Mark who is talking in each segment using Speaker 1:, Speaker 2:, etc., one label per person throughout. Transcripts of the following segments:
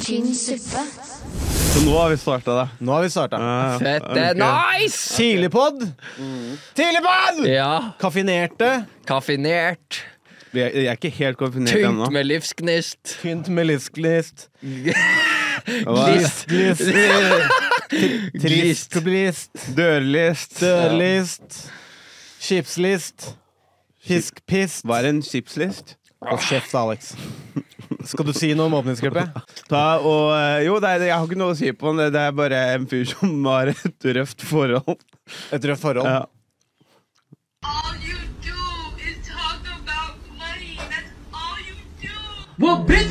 Speaker 1: tynn suppe.
Speaker 2: Så nå har vi starta, da.
Speaker 3: Nå har vi starta.
Speaker 2: Eh,
Speaker 4: Fett.
Speaker 2: ok.
Speaker 4: det er Nice!
Speaker 3: Tidligpod! Tidligpod!
Speaker 4: Ja.
Speaker 3: Kaffinerte.
Speaker 4: Kaffinert.
Speaker 2: Jeg, jeg er ikke helt konfinert ennå.
Speaker 4: Tynt med livsgnist.
Speaker 3: Tynt med lystlist.
Speaker 4: Glist.
Speaker 3: List.
Speaker 4: Glist.
Speaker 3: Tristblist.
Speaker 2: Dørlist.
Speaker 3: Dørlist. Chipslist. Fiskpist.
Speaker 2: Hva er en chipslist?
Speaker 3: Og kjeft, Alex. Skal du si noe om åpningsgruppe?
Speaker 2: Ta og eh, Jo, det er, jeg har ikke noe å si på den. Det- Det er bare en fyr som har et røft forhold.
Speaker 3: Et røft forhold.
Speaker 2: Ja.
Speaker 5: All you do is talk about money. That's all you do.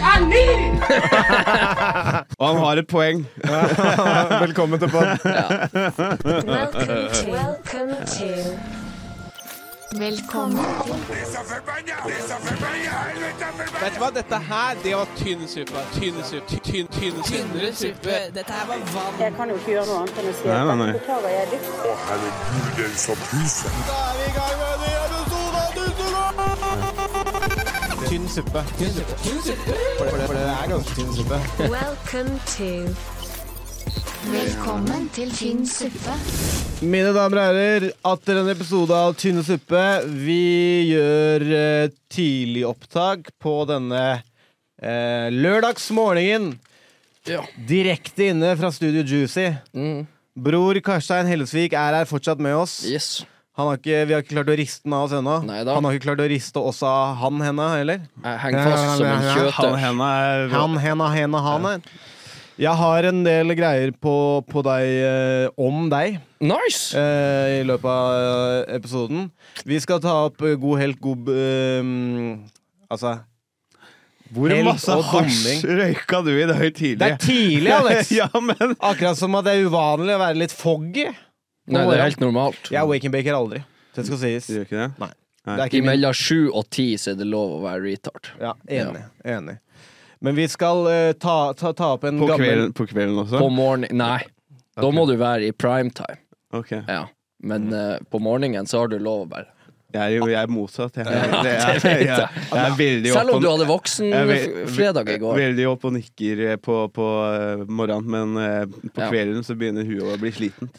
Speaker 2: Og han har et poeng.
Speaker 3: Velkommen til pod.
Speaker 6: Welcome to. Welcome to.
Speaker 1: Velkommen til
Speaker 7: Vet du hva, dette her, det var tynn suppe. Tynn suppe. Tynn, tynn, tynnere suppe.
Speaker 8: Jeg kan jo ikke gjøre noe annet enn å si
Speaker 2: Nei,
Speaker 8: at
Speaker 2: nei, nei.
Speaker 8: dette beklager jeg dypt.
Speaker 3: Tynn suppe. For det, for det er ganske tynn suppe.
Speaker 6: Welcome to.
Speaker 1: Velkommen til tynn suppe.
Speaker 3: Mine damer og herrer, atter en episode av Tynne suppe. Vi gjør eh, tidlig opptak på denne eh, lørdagsmorgenen.
Speaker 4: Ja.
Speaker 3: Direkte inne fra Studio Juicy.
Speaker 4: Mm.
Speaker 3: Bror Karstein Hellesvik er her fortsatt med oss.
Speaker 4: Yes.
Speaker 3: Han har ikke, vi har ikke klart å riste han av oss ennå.
Speaker 4: Neida.
Speaker 3: Han har ikke klart å riste oss av han henne heller.
Speaker 4: Jeg henger fast som en
Speaker 2: Han
Speaker 4: kjøter.
Speaker 2: henne er
Speaker 3: Han henne henne han her. Jeg har en del greier på, på deg, eh, om deg
Speaker 4: Nice!
Speaker 3: eh, i løpet av eh, episoden. Vi skal ta opp eh, god helt, god eh, mm, Altså
Speaker 2: Hvor
Speaker 3: Helt
Speaker 2: masse
Speaker 3: og
Speaker 2: hasj røyka du i dag
Speaker 3: Det
Speaker 2: tidlig?
Speaker 3: er tidlig, Alex!
Speaker 2: ja, men
Speaker 3: Akkurat som at det er uvanlig å være litt foggy.
Speaker 4: Nei, det er helt normalt.
Speaker 3: Jeg wake and baker aldri. Det skal sies.
Speaker 2: Du gjør ikke det?
Speaker 3: Det er ikke min.
Speaker 4: Imellom sju og ti så er det lov å være retard.
Speaker 3: Ja, enig. enig. Men vi skal eh, ta, ta, ta opp en
Speaker 2: På
Speaker 3: gammel
Speaker 2: kvelden, på kvelden også?
Speaker 4: På morgenen Nei. Da må du være i primetime.
Speaker 2: Ok.
Speaker 4: Ja. Men
Speaker 2: Mm.
Speaker 4: eh, på morgenen så har du lov å være
Speaker 2: Jeg er jo jeg er motsatt. Jeg, jeg, jeg,
Speaker 4: det
Speaker 2: jeg,
Speaker 4: vet jeg.
Speaker 2: jeg, jeg er veldig
Speaker 4: Selv om
Speaker 2: opp
Speaker 4: du
Speaker 2: og-
Speaker 4: hadde
Speaker 2: jeg er ve-
Speaker 4: voksenfredag i går.
Speaker 2: Veldig opp og nikker eh, på, på eh, morgenen, men eh, på
Speaker 4: Ja.
Speaker 2: kvelden så begynner huet å bli sliten.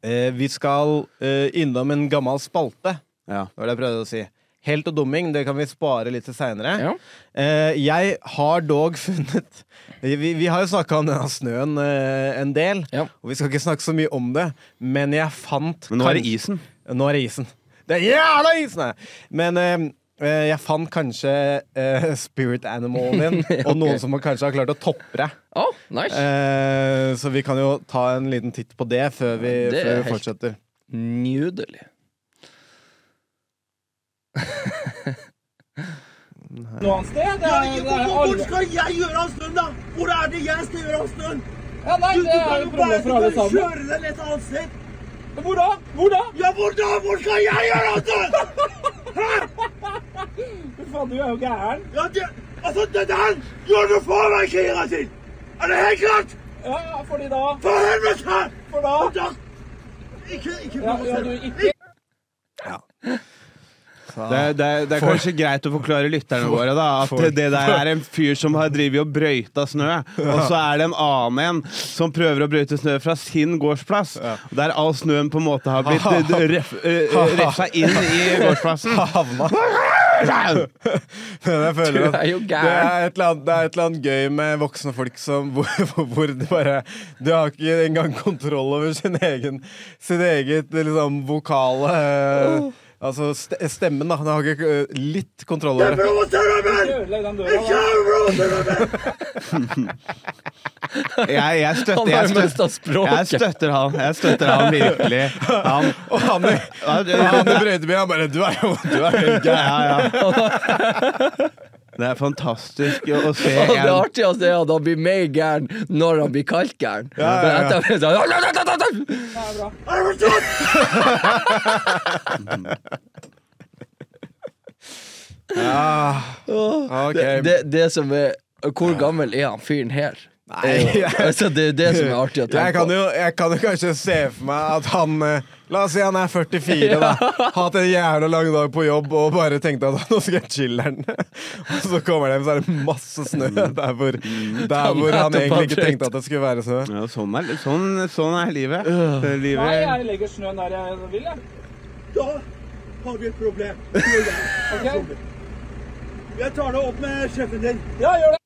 Speaker 3: Eh, vi skal eh, innom en gammel spalte.
Speaker 2: Ja.
Speaker 3: Det var det jeg prøvde å si. Helt og dumming, det kan vi spare litt til seinere.
Speaker 4: Ja.
Speaker 3: Eh, jeg har dog funnet Vi, vi har jo snakka om denne snøen eh, en del,
Speaker 4: Ja.
Speaker 3: og vi skal ikke snakke så mye om det, men jeg fant
Speaker 2: Men nå er det
Speaker 3: kanskje-
Speaker 2: isen.
Speaker 3: Nå er det isen. Det er jævla isen! her! Men eh, eh, jeg fant kanskje eh, spirit animalen din, og noen som kanskje har klart å toppe det.
Speaker 4: Å, nice.
Speaker 3: Eh, så vi kan jo ta en liten titt på det før vi,
Speaker 4: Det
Speaker 3: før
Speaker 4: er
Speaker 3: vi
Speaker 4: helt-
Speaker 3: fortsetter.
Speaker 4: Nydelig.
Speaker 7: Hvor skal jeg gjøre av snøen, da? Hvor er det jeg skal gjøre av snøen? Ja, nei, det er jo problem for alle sammen. Kjøre den et annet sted. Hvor da? Hvor da? Ja, hvor da? Hvor skal jeg gjøre av snøen? Hæ? Faen, du er jo gæren. Ja, det, altså, det der gjør du for meg, Kira sin. Er det helt klart? Ja, ja, fordi da? For helvete! For da? da ikke, ikke, ja, ja, du, ikke
Speaker 2: Det, er- det, er- det er kanskje greit å forklare lytterne våre da, at det der er en fyr som har drevet og brøyta snø, og så er det en annen en som prøver å brøyte snø fra sin gårdsplass, der all snøen på en måte har blitt eh, d- ref, eh, refsa inn i gårdsplassen.
Speaker 3: Havna. Men jeg føler
Speaker 4: Du
Speaker 3: at
Speaker 4: er jo
Speaker 3: det er, et eller annet, det er et eller annet gøy med voksne folk som hvor, hvor de bare Du har ikke engang kontroll over sin egen Sin eget liksom vokale eh, Altså ste- stemmen, da. Du har ikke eh, litt kontroll over det.
Speaker 2: Jeg, jeg,
Speaker 4: Han
Speaker 2: støtter,
Speaker 4: har
Speaker 2: jeg,
Speaker 4: jo
Speaker 2: støtter,
Speaker 4: mista
Speaker 2: jeg
Speaker 4: språket.
Speaker 2: støtter han. Jeg støtter han virkelig. Han,
Speaker 3: Og han i
Speaker 2: Ja, det-
Speaker 3: han i brøytebil, han bare Du er jo du er jo helt gæren.
Speaker 2: Ja, ja. Det er fantastisk å å se
Speaker 4: Og det
Speaker 2: en
Speaker 4: artigste er at han blir mer gæren når han blir kaldt gæren. Men etterpå så er han-
Speaker 3: Ah, ok.
Speaker 4: Eh, Det, det som er Hvor gammel er han fyren her?
Speaker 3: Nei, jeg,
Speaker 4: Altså, det er jo det som er artig å
Speaker 3: jeg,
Speaker 4: tenke
Speaker 3: kan
Speaker 4: på.
Speaker 3: jo, jeg kan jo kanskje se for meg at han eh, La oss si han er 44, da. Hatt en jævla lang dag på jobb og bare tenkte at nå skal jeg chiller'n. Og så kommer det hjem, så er det masse snø
Speaker 4: Mm.
Speaker 3: der hvor, der hvor han egentlig ikke tenkte at det skulle være snø.
Speaker 2: Ja, sånn, er, sånn, sånn er livet. Det er
Speaker 7: Nei,
Speaker 2: livet.
Speaker 7: jeg legger snøen der jeg vil, jeg.
Speaker 9: Da har vi et problem. Du og jeg har et
Speaker 7: Ok.
Speaker 9: problem. Jeg tar det opp med sjefen din.
Speaker 7: Ja, gjør det.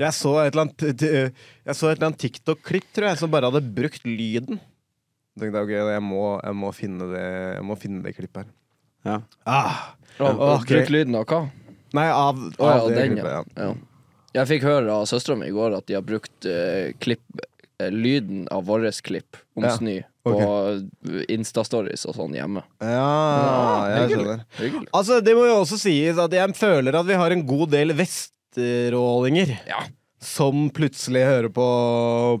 Speaker 3: Jeg så et eller annet, t- jeg så et eller annet TikTok-klipp, tror jeg, som bare hadde brukt lyden. Jeg tenkte ok, jeg må, jeg må, finne, det, jeg må finne det klippet her.
Speaker 2: Ja.
Speaker 3: Ah,
Speaker 4: Og
Speaker 3: ok.
Speaker 4: Bruk lyden av hva?
Speaker 3: Nei, av, av
Speaker 4: Å ja,
Speaker 3: det
Speaker 4: den,
Speaker 3: klippet.
Speaker 4: ja.
Speaker 3: Ja.
Speaker 4: ja. Jeg fikk høre av søstera mi i går at de har brukt eh, klipp, eh, lyden av vårt klipp om
Speaker 3: Ja,
Speaker 4: snø på Insta-stories og sånn hjemme.
Speaker 3: Ja, jeg skjønner.
Speaker 4: Hyggelig.
Speaker 3: Altså, Det må jo også sies at jeg føler at vi har en god del vesterålinger
Speaker 4: Ja.
Speaker 3: som plutselig hører på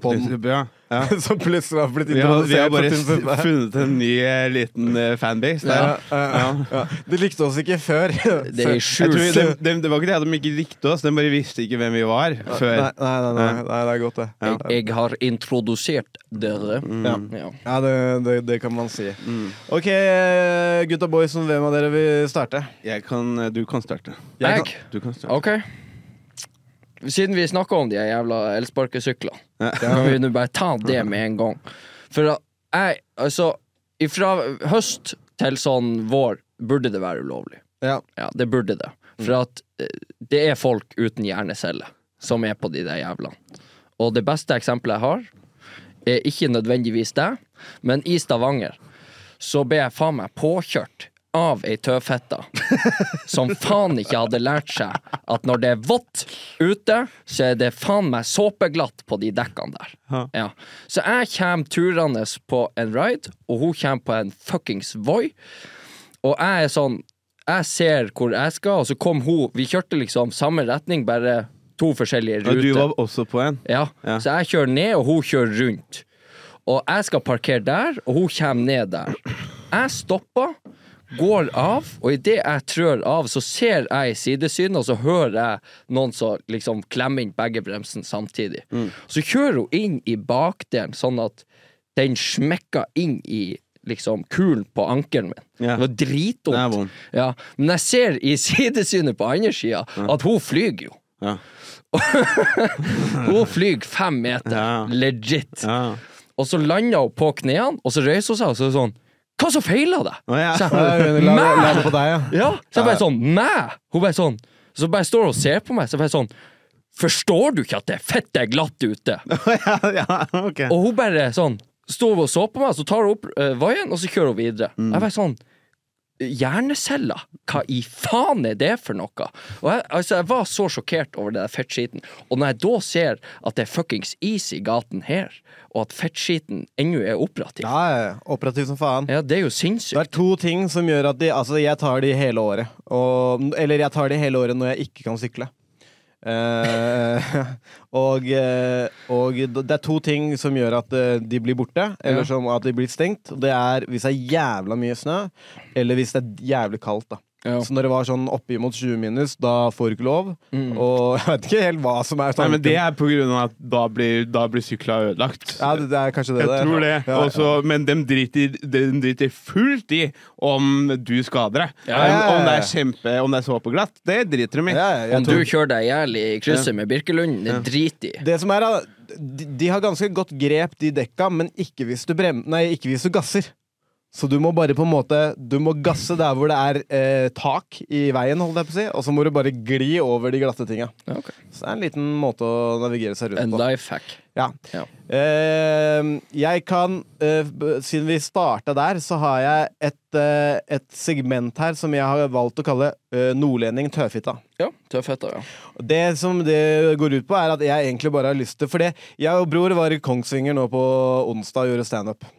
Speaker 3: podden.
Speaker 2: Ja. Ja.
Speaker 3: Som plutselig har blitt
Speaker 2: Vi har, vi har
Speaker 3: introdusert.
Speaker 2: bare
Speaker 3: for Tim Sunde.
Speaker 2: s- funnet en ny eh, liten eh, fanbase der.
Speaker 3: ja,
Speaker 2: da.
Speaker 3: ja, ja. De likte oss ikke før.
Speaker 4: Det er i
Speaker 2: Jeg
Speaker 4: skjul.
Speaker 2: tror de, de, det var ikke det at de ikke likte oss, de bare visste ikke hvem vi var før.
Speaker 3: Nei, nei, nei, nei, nei, det er godt, det.
Speaker 4: Jeg, jeg har introdusert dere. Ja.
Speaker 3: Ja, det, det, det kan man si. Ok, gutta boys, hvem av dere vil starte?
Speaker 2: Jeg kan, eh, du kan starte.
Speaker 4: Jeg?
Speaker 2: kan- Du kan starte.
Speaker 4: OK. Siden vi snakka om de jævla elsparkesyklene, kan vi nå bare ta det med en gang. For at jeg, altså Fra høst til sånn vår burde det være ulovlig.
Speaker 3: Ja.
Speaker 4: Ja, det burde det. For at eh, det er folk uten hjerneceller som er på de der jævlene. Og det beste eksempelet jeg har, er ikke nødvendigvis det, men i Stavanger så ble jeg faen meg påkjørt av ei tøfhette som faen ikke hadde lært seg at når det er vått ute, så er det faen meg såpeglatt på de dekkene der. Ja. Så jeg kommer turende på en ride, og hun kommer på en fuckings Voi. Og jeg er sånn Jeg ser hvor jeg skal, og så kom hun. Vi kjørte liksom samme retning, bare to forskjellige
Speaker 2: Og
Speaker 4: ruter.
Speaker 2: du var også på en.
Speaker 4: Ja.
Speaker 2: Ja.
Speaker 4: Så jeg kjører ned, og hun kjører rundt. Og jeg skal parkere der, og hun kommer ned der. Jeg stopper, går av, og idet jeg trør av, så ser jeg i sidesynet, og så hører jeg noen som liksom klemmer inn begge bremsene samtidig.
Speaker 2: Mm.
Speaker 4: Så kjører hun inn i bakdelen, sånn at den smekker inn i liksom kulen på ankelen min.
Speaker 2: Ja.
Speaker 4: Det var dritvondt.
Speaker 2: Det er vondt.
Speaker 4: Ja. Men jeg ser i sidesynet på andre sida at hun flyger jo.
Speaker 2: Ja.
Speaker 4: Hun flyr fem meter,
Speaker 2: Ja.
Speaker 4: legit.
Speaker 2: Ja.
Speaker 4: Og så lander hun på knærne, og så reiser hun seg og så er det sånn Hva som feiler deg?
Speaker 2: Å, ja.
Speaker 4: Så jeg,
Speaker 3: La,
Speaker 4: «Mæ?»
Speaker 3: la det på deg, ja.
Speaker 4: ja, så jeg bare sånn Mæ? Hun bare sånn Så bare står hun og ser på meg, så bare sånn Forstår du ikke at det er fette glatt ute?
Speaker 2: ja, ja, ok.
Speaker 4: Og hun bare sånn Sto og så på meg, så tar hun opp uh, vaien, og så kjører hun videre.
Speaker 3: Mm.
Speaker 4: Jeg bare sånn Hjerneceller? Hva i faen er det for noe? Og jeg, altså, jeg var så sjokkert over den der fettskiten. Og når jeg da ser at det er fuckings is i gaten her, og at fettskiten ennå er operativ, ja.
Speaker 3: Ja, ja, ja. Operativ som faen.
Speaker 4: det er jo
Speaker 3: Det
Speaker 4: sinnssykt.
Speaker 3: er to ting som gjør at de Altså, jeg tar de hele året. Og, eller jeg tar de hele året når jeg ikke kan sykle. Eh, og, eh, og det er to ting som gjør at eh, de blir borte, eller som at de blir stengt. Det er hvis det er jævla mye snø, eller hvis det er jævlig kaldt. da
Speaker 4: Ja.
Speaker 3: Så når det var sånn oppimot 20 minus, da får du ikke lov. Og jeg vet ikke helt hva som er
Speaker 2: Mm. Nei,
Speaker 3: tanken.
Speaker 2: men det er på grunn av at da blir, da blir sykla ødelagt.
Speaker 3: ja, det, det er kanskje det
Speaker 2: Jeg
Speaker 3: det er.
Speaker 2: tror det.
Speaker 3: Ja, ja.
Speaker 2: Også, men de driter, de driter fullt i om du skader deg.
Speaker 4: Ja, ja,
Speaker 3: ja, ja.
Speaker 2: Om det er kjempe, om det er såpeglatt, det driter de i.
Speaker 3: Ja, ja, jeg
Speaker 4: Om
Speaker 3: tror-
Speaker 4: du kjører deg i hjel i krysset med Birkelunden, det driter i.
Speaker 3: Det som er, at de, de har ganske godt grep, de dekka, men ikke hvis du, brem, nei, ikke hvis du gasser. Så du må bare på en måte Du må gasse der hvor det er eh, tak i veien, holdt jeg på å si, og så må du bare gli over de glatte tinga.
Speaker 4: Ja, ok.
Speaker 3: Så det er en liten måte å navigere seg
Speaker 4: En
Speaker 3: rundt på.
Speaker 4: life hack.
Speaker 3: Ja.
Speaker 4: Ja.
Speaker 3: Eh, jeg kan eh, b- Siden vi starta der, så har jeg et, eh, et segment her som jeg har valgt å kalle eh, Nordlending tøfitta.
Speaker 4: Ja, tøffheter, ja.
Speaker 3: Det som det går ut på, er at jeg egentlig bare har lyst til For det, jeg og bror var i Kongsvinger nå på onsdag og gjorde standup.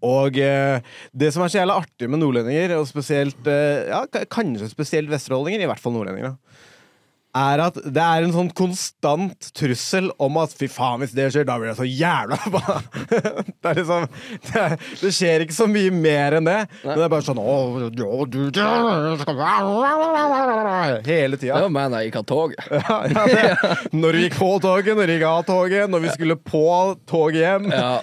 Speaker 3: Og eh, det som er så jævla artig med nordlendinger, og spesielt eh, ja, ka- kanskje spesielt vesterålendinger, i hvert fall nordlendinger, da, er at det er en sånn konstant trussel om at fy faen, hvis det skjer, da blir jeg så jævla forbanna. det, er liksom, det, er, det skjer ikke så mye mer enn det. Men det er bare sånn «Åh, ja, du, du, Hele
Speaker 4: Det
Speaker 3: tida.
Speaker 4: var meg da jeg gikk av toget.
Speaker 3: Ja, ja, det. Når vi gikk på toget, når vi gikk av toget, når vi skulle på toget hjem.
Speaker 4: Ja.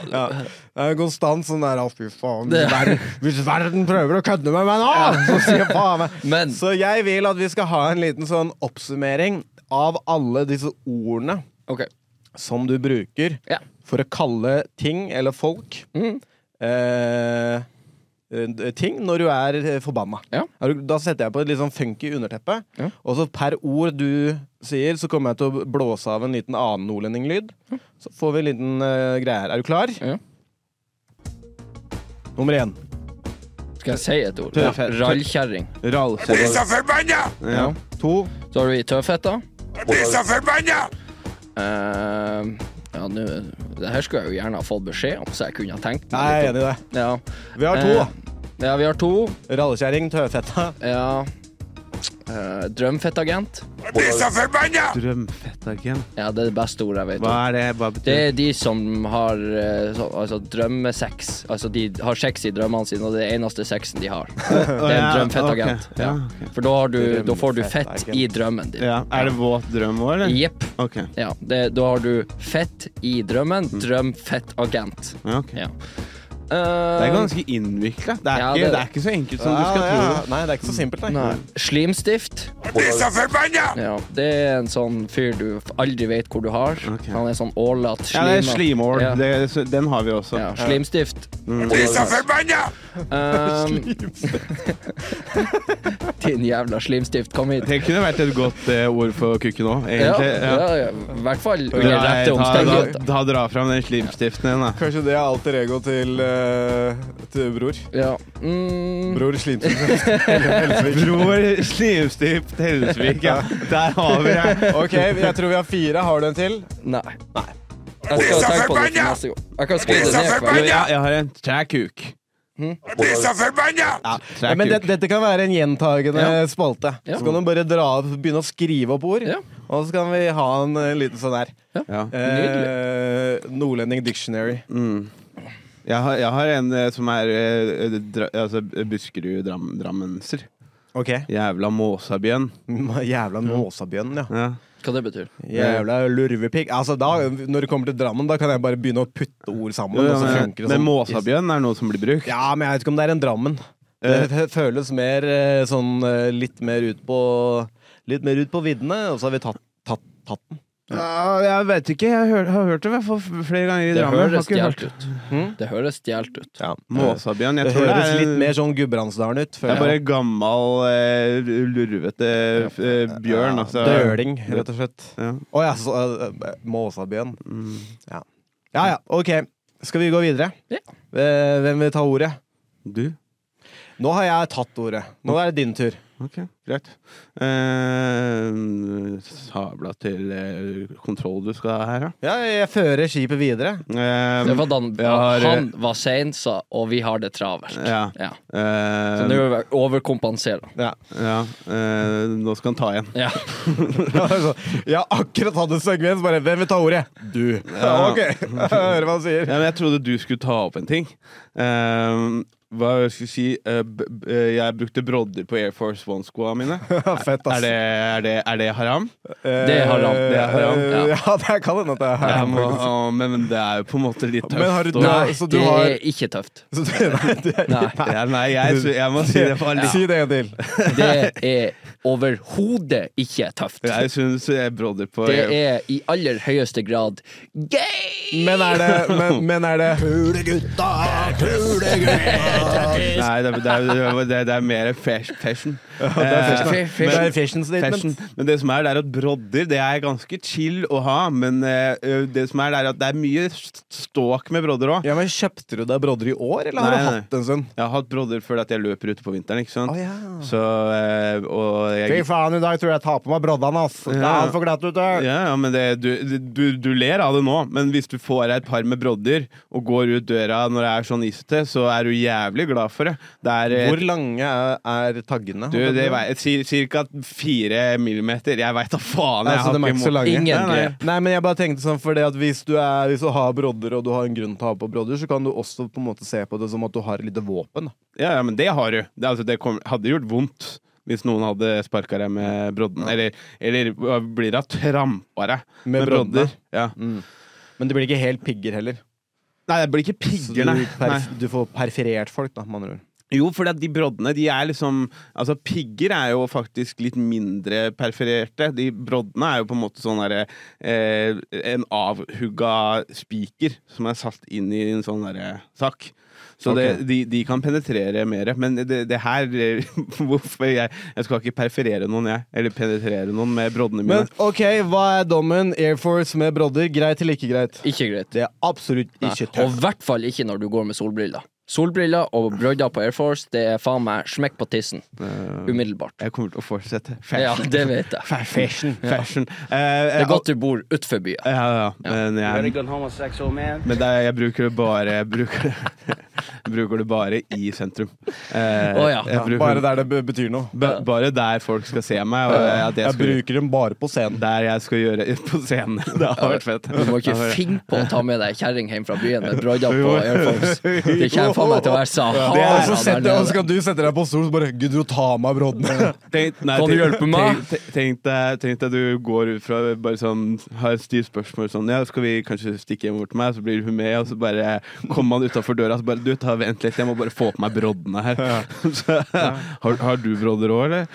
Speaker 3: Det er en konstant sånn der Å, fy faen. Hvis verden, hvis verden prøver å kødde med meg nå, så sier jeg faen meg
Speaker 4: Men-
Speaker 3: Så jeg vil at vi skal ha en liten sånn oppsummering av alle disse ordene
Speaker 4: Ok.
Speaker 3: som du bruker
Speaker 4: Ja.
Speaker 3: for å kalle ting eller folk eh, eh, Ting når du er eh, forbanna.
Speaker 4: Ja.
Speaker 3: Er du- Da setter jeg på et litt sånn funky underteppe.
Speaker 4: Ja.
Speaker 3: Og så per ord du sier, så kommer jeg til å blåse av en liten annen nordlendinglyd. Så får vi en liten eh, greie her. Er du klar?
Speaker 4: Ja.
Speaker 3: Nummer én.
Speaker 4: Skal jeg si et ord?
Speaker 2: Tøff-
Speaker 4: Ja. Rallkjerring.
Speaker 2: Ralse.
Speaker 3: Ja. To.
Speaker 4: Så har du i tøffhetta.
Speaker 7: forbanna!
Speaker 4: Eh, ja, nå Det her skulle jeg jo gjerne ha fått beskjed om, så jeg kunne ha tenkt
Speaker 3: Nei, jeg er enig i det.
Speaker 4: Ja.
Speaker 3: Vi har to.
Speaker 4: Eh, ja, vi har to.
Speaker 3: Rallekjerring, tøfetta.
Speaker 4: Ja. Eh, drømfettagent.
Speaker 2: Drømfettagent.
Speaker 4: Ja, det er det beste ordet jeg vet. om.
Speaker 2: Hva er det? Hva
Speaker 4: Det
Speaker 2: betyr det?
Speaker 4: er de som har eh, så, altså, drømmesex. Altså, de har sex i drømmene sine, og det er eneste sexen de har. Det er en
Speaker 2: ja,
Speaker 4: drømfettagent.
Speaker 2: ok.
Speaker 4: Ja.
Speaker 2: Ja, ok.
Speaker 4: For da, har du, da får du fett
Speaker 3: Drømfettagent.
Speaker 4: i drømmen din.
Speaker 2: Ja. Er det våt drøm òg, eller?
Speaker 4: Jepp.
Speaker 2: Ok.
Speaker 4: Ja, det, da har du fett i drømmen. Drømfettagent.
Speaker 2: Ja, ok.
Speaker 4: Ja.
Speaker 2: Mm. Det er ganske innvikla. Det, er
Speaker 4: Ja,
Speaker 2: ikke-
Speaker 4: det-
Speaker 2: det er ikke så enkelt som du skal
Speaker 3: Ja,
Speaker 2: tro.
Speaker 3: ja. Nei, det er ikke så simpelt, nei.
Speaker 4: Eh, Nei. Slimstift. Ja, det er en sånn fyr du f- aldri vet hvor du har.
Speaker 2: Ok.
Speaker 4: Han er sånn ålete
Speaker 2: Ja, det er Mm. slimål.
Speaker 4: Ja.
Speaker 2: Det- så- Den har vi også.
Speaker 4: Ja, slimstift. Um, Ehm, Din jævla slimstift, kom hit.
Speaker 2: Det kunne vært et godt eh, ord for kukken òg,
Speaker 4: Ja,
Speaker 2: egentlig. Ja.
Speaker 4: ja, ja. I hvert fall under
Speaker 2: Dra,
Speaker 4: rette
Speaker 2: ta, da,
Speaker 4: omstendigheter.
Speaker 2: da dra fram den slimstiften din, da.
Speaker 3: Kanskje det er alter ego til, eh, til bror.
Speaker 4: Ja. Mm,
Speaker 3: Bror Slimsen.
Speaker 2: Bror Slimstift Hellesvik, ja. Der har vi det.
Speaker 3: ok, jeg tror vi har fire. Har du en til?
Speaker 4: nei. Jeg skal tenke på det til neste gang. Jeg kan skrive det ned.
Speaker 2: Du,
Speaker 4: hver-
Speaker 2: jeg, jeg har en træ kuk. Ja, træ
Speaker 3: Ja, men det,
Speaker 2: kuk.
Speaker 3: dette kan være en gjentagende
Speaker 4: Ja.
Speaker 3: spalte.
Speaker 4: Ja.
Speaker 3: Så kan du bare dra opp, begynne å skrive opp ord,
Speaker 4: Ja.
Speaker 3: og så kan vi ha en eh, liten sånn her.
Speaker 2: Ja.
Speaker 3: Eh, Nordlending Dictionary.
Speaker 2: Mm. Jeg, har, jeg har en eh, som er eh, dra, altså, Buskerud dram, Drammenser.
Speaker 3: Ok.
Speaker 2: Jævla måsabjørn.
Speaker 3: Jævla måsabjønn, ja.
Speaker 2: Ja.
Speaker 4: Hva det betyr
Speaker 3: Jævla lurvepikk. Altså, da, når det kommer til Drammen, da kan jeg bare begynne å putte ord sammen.
Speaker 2: Jo, ja,
Speaker 3: og så
Speaker 2: men,
Speaker 3: funker det
Speaker 2: men
Speaker 3: sånn.
Speaker 2: måsabjørn er noe som blir brukt.
Speaker 3: Ja, men jeg vet ikke om det er en Drammen. Det f- føles mer eh, sånn eh, litt mer ut på Litt mer ut på viddene, og så har vi tatt, tatt, tatt den.
Speaker 2: Ja, jeg vet ikke. Jeg hør, har hørt det i hvert fall flere ganger i
Speaker 4: Det
Speaker 2: Drammen.
Speaker 4: høres
Speaker 2: Har ikke hørt
Speaker 4: stjålet ut. Det høres stjålet ut.
Speaker 2: Måsabjørn. Jeg
Speaker 3: Eh, Det
Speaker 2: tror det
Speaker 3: høres
Speaker 2: er,
Speaker 3: litt mer sånn Gudbrandsdalen ut.
Speaker 2: det
Speaker 3: føler
Speaker 2: er
Speaker 3: jeg.
Speaker 2: bare gammal, eh, lurvete eh, bjørn. Altså.
Speaker 3: Døling, rett og slett. Å
Speaker 2: Ja.
Speaker 3: ja, Mm. så eh, Måsabjørn. Ja. ja ja, ok. Skal vi gå videre?
Speaker 4: Ja.
Speaker 3: Eh, Hvem vil ta ordet?
Speaker 2: Du?
Speaker 3: Nå har jeg tatt ordet. Nå er det din tur.
Speaker 2: Ok, greit. Eh, sabla til eh, kontroll du skal ha her, da.
Speaker 3: Ja, jeg fører skipet videre.
Speaker 2: Eh,
Speaker 4: Det var da han,
Speaker 2: jeg har, eh,
Speaker 4: han var sein, sa, og vi har det travelt.
Speaker 2: Ja.
Speaker 4: Ja.
Speaker 2: eh,
Speaker 4: Så nå er vi overkompenserer.
Speaker 3: Ja.
Speaker 2: ja eh, nå skal han ta igjen.
Speaker 4: Ja.
Speaker 3: Altså, jeg har akkurat hatt en sekvens. Bare 'Hvem vil ta ordet?' Du. Ja, ok, jeg hører hva han sier.
Speaker 2: Ja, men jeg trodde du skulle ta opp en ting. Eh, hva jeg skulle si eh, b b eh, Jeg brukte brodder på Air Force One-skoa mine.
Speaker 3: Fett,
Speaker 2: Er
Speaker 3: ass.
Speaker 2: det, er, det, er det haram?
Speaker 4: Det er haram.
Speaker 3: Eh,
Speaker 2: Det er haram,
Speaker 3: Ja,
Speaker 4: ja.
Speaker 3: det kan hende at det er
Speaker 2: Ja,
Speaker 3: haram.
Speaker 2: men, å, men, men det er jo på en måte litt tøft.
Speaker 3: Men har du-
Speaker 2: å-
Speaker 3: Nei,
Speaker 4: Nei,
Speaker 3: så du
Speaker 4: det
Speaker 3: har-
Speaker 4: er ikke tøft.
Speaker 3: Så det- nei, det-
Speaker 4: Nei,
Speaker 2: ja, nei, jeg, sy- jeg må si det for alle.
Speaker 3: Si det en til.
Speaker 4: det er overhodet ikke tøft.
Speaker 2: Jeg syns eh, brodder på
Speaker 4: Det
Speaker 2: Air
Speaker 4: er i aller høyeste grad gay!
Speaker 3: Men er det, men, men er det
Speaker 2: Nei, det, det, er- det, det er mer fas- fashion.
Speaker 4: Fe-
Speaker 2: Eh,
Speaker 4: fe-
Speaker 3: Det er fashion
Speaker 2: Fashion.
Speaker 3: statement.
Speaker 2: Men det som er, det er at brodder Det er ganske chill å ha, men eh, ø, det som er, det er at det er mye st- ståk med brodder òg.
Speaker 3: Ja, men Kjøpte du deg brodder i år, eller har
Speaker 2: Nei,
Speaker 3: du
Speaker 2: nei.
Speaker 3: hatt en stund?
Speaker 2: Jeg har hatt brodder før at jeg løper ute på vinteren, ikke sant.
Speaker 3: Å, ja.
Speaker 2: Så eh, Og
Speaker 3: Fy
Speaker 2: jeg
Speaker 3: faen, i dag tror jeg jeg tar på meg broddene, ass. Det
Speaker 2: Ja.
Speaker 3: er for glatt ute.
Speaker 2: ja, ja, men det, du, du, du ler av det nå, men hvis du får deg et par med brodder og går ut døra når det er sånn isete, så er du jævlig glad for det. Det er eh,
Speaker 3: Hvor lange er, er taggene?
Speaker 2: Du, det vei, cir- cirka fire millimeter. Jeg veit da faen, jeg
Speaker 3: Altså,
Speaker 2: har
Speaker 3: de er
Speaker 2: ikke
Speaker 3: ikke så
Speaker 2: mot
Speaker 3: lange.
Speaker 4: Ingen
Speaker 3: nei,
Speaker 4: grep.
Speaker 3: nei. nei, men jeg bare tenkte sånn fordi at hvis du, er, hvis du har brodder, og du har en grunn til å ha på brodder, så kan du også på en måte se på det som at du har et lite våpen. da.
Speaker 2: Ja, ja, men det har du. Det, altså, det kom, hadde gjort vondt hvis noen hadde sparka deg med brodden. Eller, eller hva blir det trampa deg
Speaker 3: Med
Speaker 2: med, brodder.
Speaker 3: broddene.
Speaker 2: Ja.
Speaker 3: Men det blir ikke helt pigger heller.
Speaker 2: Nei, det blir ikke
Speaker 3: Så
Speaker 2: pigger,
Speaker 3: du,
Speaker 2: nei. nei.
Speaker 3: perf du får perforert folk, da, med andre ord.
Speaker 2: Jo, for de broddene de er liksom Altså, pigger er jo faktisk litt mindre perforerte. De broddene er jo på en måte sånn derre eh, En avhugga spiker som er satt inn i en sånn derre sak. Så
Speaker 3: Ok.
Speaker 2: det, de, de kan penetrere mer. Men det, det her Hvorfor jeg, jeg skal ikke perforere noen, jeg. Eller penetrere noen med broddene mine.
Speaker 3: Men OK, hva er dommen? Air Force med brodder, greit eller ikke greit?
Speaker 4: Ikke greit.
Speaker 3: Det er absolutt ikke
Speaker 4: Og
Speaker 3: tøft.
Speaker 4: i hvert fall ikke når du går med solbriller. Solbriller og brødder på Air Force, det er faen meg smekk på tissen.
Speaker 3: Eh,
Speaker 4: Umiddelbart.
Speaker 2: jeg kommer til å fortsette.
Speaker 4: Ja,
Speaker 2: Fashion.
Speaker 4: det vet jeg.
Speaker 2: Fashion. Fashion. Eh,
Speaker 4: Det er
Speaker 2: godt-
Speaker 4: godt du bor utenfor
Speaker 3: Eh,
Speaker 4: byen.
Speaker 2: Ja, ja, ja. Men jeg,
Speaker 9: homosexual man.
Speaker 2: Men det, er- jeg bruker det bare jeg bruker, bruker det bare i sentrum. Eh,
Speaker 4: Å ja.
Speaker 2: jeg bruker, bare, der.
Speaker 3: Bare der det be- betyr noe.
Speaker 2: bare der folk skal se meg. Og at jeg
Speaker 3: Jeg
Speaker 2: skal,
Speaker 3: bruker dem bare på scenen.
Speaker 2: der jeg skal gjøre på scenen. Det har vært fett.
Speaker 4: Du må ikke finne på å ta med deg kjerring hjem fra byen med brødder på Air Force. Det kommer faen meg til å være
Speaker 3: Det er, så
Speaker 4: Sahara der
Speaker 3: setter, og så
Speaker 4: nede.
Speaker 3: kan du sette deg på stol og bare Gudrun, ta meg broddene.
Speaker 2: Tenk, nei,
Speaker 4: Kan du
Speaker 2: tenk-
Speaker 4: hjelpe meg?
Speaker 2: tenk- tenk- Tenk deg- tenk deg du går ut fra bare sånn, har et stivt spørsmål sånn Ja, skal vi kanskje stikke hjem bort til meg? Så blir hun med, og så bare kommer man utafor døra og så bare Du, ta, vent litt, jeg må bare få på meg broddene her. Så, har, har du brodder òg, eller?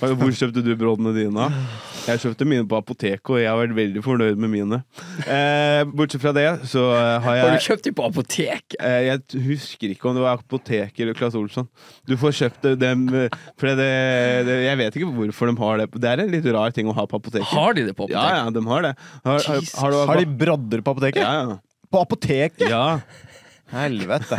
Speaker 2: Har- Hvor kjøpte du broddene dine? av? Jeg kjøpte mine på apoteket, og jeg har vært veldig fornøyd med mine. Eh, bortsett fra det, så eh, har jeg
Speaker 4: Har du kjøpt dem på apoteket?
Speaker 2: Eh, Jeg t- husker ikke om det var apoteket eller Claes Olsson. Du får kjøpt det- dem eh, For det, det, jeg vet ikke hvorfor de har det. Det er en litt rar ting å ha på apoteket.
Speaker 4: Har de det på
Speaker 2: Ja,
Speaker 4: apoteket?
Speaker 2: ja, de har det. Har, har,
Speaker 4: Jesus.
Speaker 2: har, du,
Speaker 3: Har de brodder på apoteket?
Speaker 2: ja, ja.
Speaker 3: På apoteket?
Speaker 2: ja.
Speaker 3: Helvete.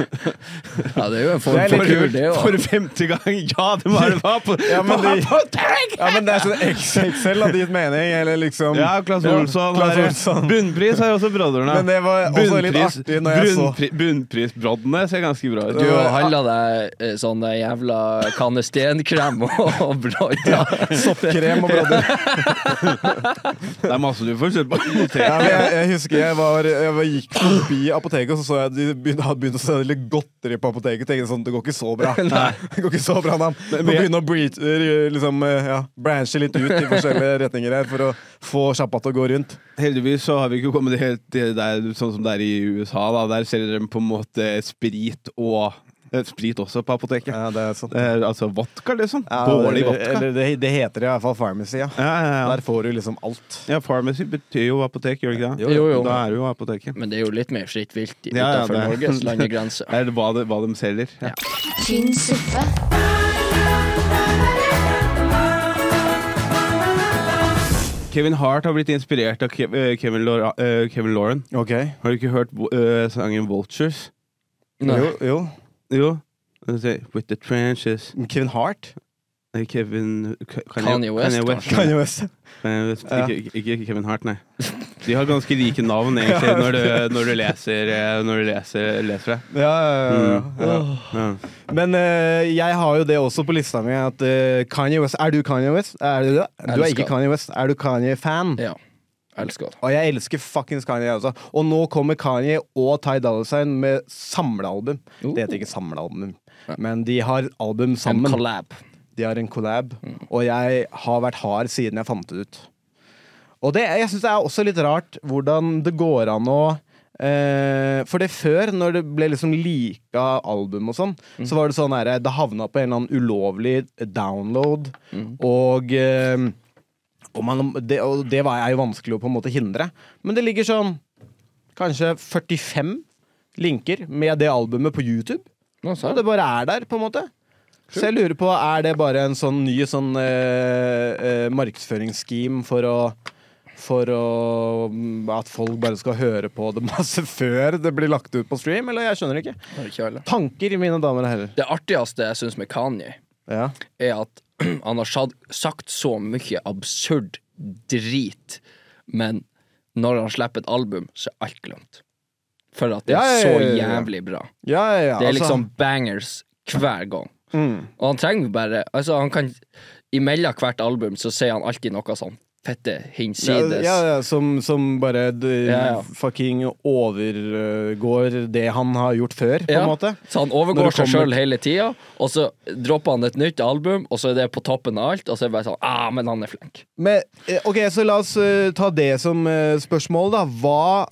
Speaker 4: Ja, det er jo en
Speaker 3: Det
Speaker 4: form
Speaker 3: er litt
Speaker 4: for kul, det
Speaker 2: For
Speaker 4: òg.
Speaker 2: femte gang! Ja, de har det på apo-
Speaker 3: Ja, men
Speaker 2: på
Speaker 3: de-
Speaker 2: apoteket!
Speaker 3: Ja, men det er sånn XXL hadde gitt mening, eller liksom
Speaker 2: Ja, Claes
Speaker 3: Ja,
Speaker 2: Olsson.
Speaker 3: Claes
Speaker 2: har-
Speaker 3: Olsson.
Speaker 2: Bunnpris har jo også Brodderne.
Speaker 3: Men det var også litt artig når jeg så
Speaker 2: bunnpri, Bunnprisbroddene ser ganske bra ut.
Speaker 4: Du har handla deg eh, sånn eh, jævla kanestenkrem og og brødder.
Speaker 3: Soppkrem og brodder.
Speaker 2: Det er masse du får kjøpt på
Speaker 3: Ja,
Speaker 2: apoteket.
Speaker 3: men jeg, jeg husker jeg, var, jeg var, gikk forbi apoteket, og så så jeg at de begynte, hadde begynt å selge litt godteri på apoteket. Tenkte sånn, Det går ikke så bra. Det går ikke så bra, Nam. Må
Speaker 2: men jeg-
Speaker 3: begynne å breach, eh, liksom, eh, ja, branche litt ut i forskjellige retninger her for å få sjappa til å gå rundt.
Speaker 2: Heldigvis så har vi ikke kommet helt til der, sånn som det er i USA. Da. Der selger de på en måte sprit og eh, Sprit også på apoteket.
Speaker 3: Ja, det er sånn. sant.
Speaker 2: Eh, altså vodka, liksom.
Speaker 3: Ja,
Speaker 2: Dårlig
Speaker 3: eller-
Speaker 2: vodka.
Speaker 3: Eller det, det heter i hvert fall pharmacy, ja.
Speaker 2: ja, ja, ja.
Speaker 3: Der får du liksom alt.
Speaker 2: ja, Pharmacy betyr jo apotek, gjør det ikke det?
Speaker 4: Jo, jo.
Speaker 2: Da er det jo apoteket.
Speaker 4: Men det er jo litt mer fritt vilt i-
Speaker 2: Ja, ja,
Speaker 4: utenfor
Speaker 2: det-
Speaker 4: Norges landegrense.
Speaker 2: Det er hva, det, hva de selger. Ja.
Speaker 1: Tynn suppe.
Speaker 2: Kevin Hart har blitt inspirert av Kev, eh, Kevin, Laura, eh, Kevin Lauren.
Speaker 3: Ok.
Speaker 2: Har du ikke hørt eh, sangen Vultures?
Speaker 4: Nei.
Speaker 3: Jo, jo.
Speaker 2: Jo. Den sier, With the trenches
Speaker 3: Kevin Hart?
Speaker 2: Eh, Kevin Ka-
Speaker 4: Kanye West, kanskje.
Speaker 3: Kanye West.
Speaker 2: Eh, vet-
Speaker 3: Ja.
Speaker 2: Ikke, ikke, ikke Kevin Hart, nei. De har ganske like navn, egentlig, når du, når du leser eh, Når du leser, leser det.
Speaker 3: Ja, ja, ja, ja.
Speaker 2: Mm. Ja.
Speaker 3: Men eh, jeg har jo det også på lista mi. At eh, Kanye West Er du Kanye West? Er du det? Du er
Speaker 4: Elsker.
Speaker 3: ikke Kanye West. Er du Kanye-fan?
Speaker 4: Ja. Elsker det.
Speaker 3: Og jeg elsker fuckings Kanye. jeg Også. Og nå kommer Kanye og Ty Dolla Sign med samlealbum.
Speaker 4: Oh.
Speaker 3: Det heter ikke samlealbum, men de har album
Speaker 4: En
Speaker 3: sammen.
Speaker 4: collab.
Speaker 3: De har en collab, og jeg har vært hard siden jeg fant det ut. Og det, jeg syns det er også litt rart hvordan det går an å eh, For det før, når det ble liksom lika album og sånn, så var det sånn herre Det havna på en eller annen ulovlig download,
Speaker 4: Mm.
Speaker 3: og eh, og, man, det, og det var jeg jo vanskelig å på en måte hindre. Men det ligger sånn kanskje 45 linker med det albumet på YouTube.
Speaker 4: Nå sa
Speaker 3: Og
Speaker 4: jeg
Speaker 3: det bare er der, på en måte. Så jeg lurer på, er det bare en sånn ny sånn eh, eh, markedsføringsscheme for å for å, mm, at folk bare skal høre på det masse før det blir lagt ut på stream? Eller jeg skjønner ikke.
Speaker 4: det ikke alle.
Speaker 3: Tanker, mine damer og herrer.
Speaker 4: Det artigste jeg syns med Kanye,
Speaker 3: Ja.
Speaker 4: er at han har sad- sagt så mye absurd drit, men når han slipper et album, så er alt glemt. For at det
Speaker 3: Ja,
Speaker 4: er
Speaker 3: ja,
Speaker 4: så
Speaker 3: ja, ja.
Speaker 4: jævlig bra.
Speaker 3: Ja, ja, ja.
Speaker 4: Det er
Speaker 3: altså- Mm.
Speaker 4: liksom bangers hver gang. Og han trenger bare Altså, han kan Imellom hvert album så sier han alltid noe sånn fette
Speaker 3: Ja,
Speaker 4: hinsides.
Speaker 3: ja, ja, som, som bare d-
Speaker 4: Ja, ja.
Speaker 3: fucking overgår det han har gjort før, på
Speaker 4: Ja,
Speaker 3: en måte.
Speaker 4: Så han
Speaker 3: Når
Speaker 4: overgår
Speaker 3: det
Speaker 4: seg
Speaker 3: kommer-
Speaker 4: sjøl hele tida, og så dropper han et nytt album, og så er det på toppen av alt, og så er det bare sånn Ah, men han er flink.
Speaker 3: Men, eh, ok, så la oss eh, ta det som eh, spørsmål, da. Hva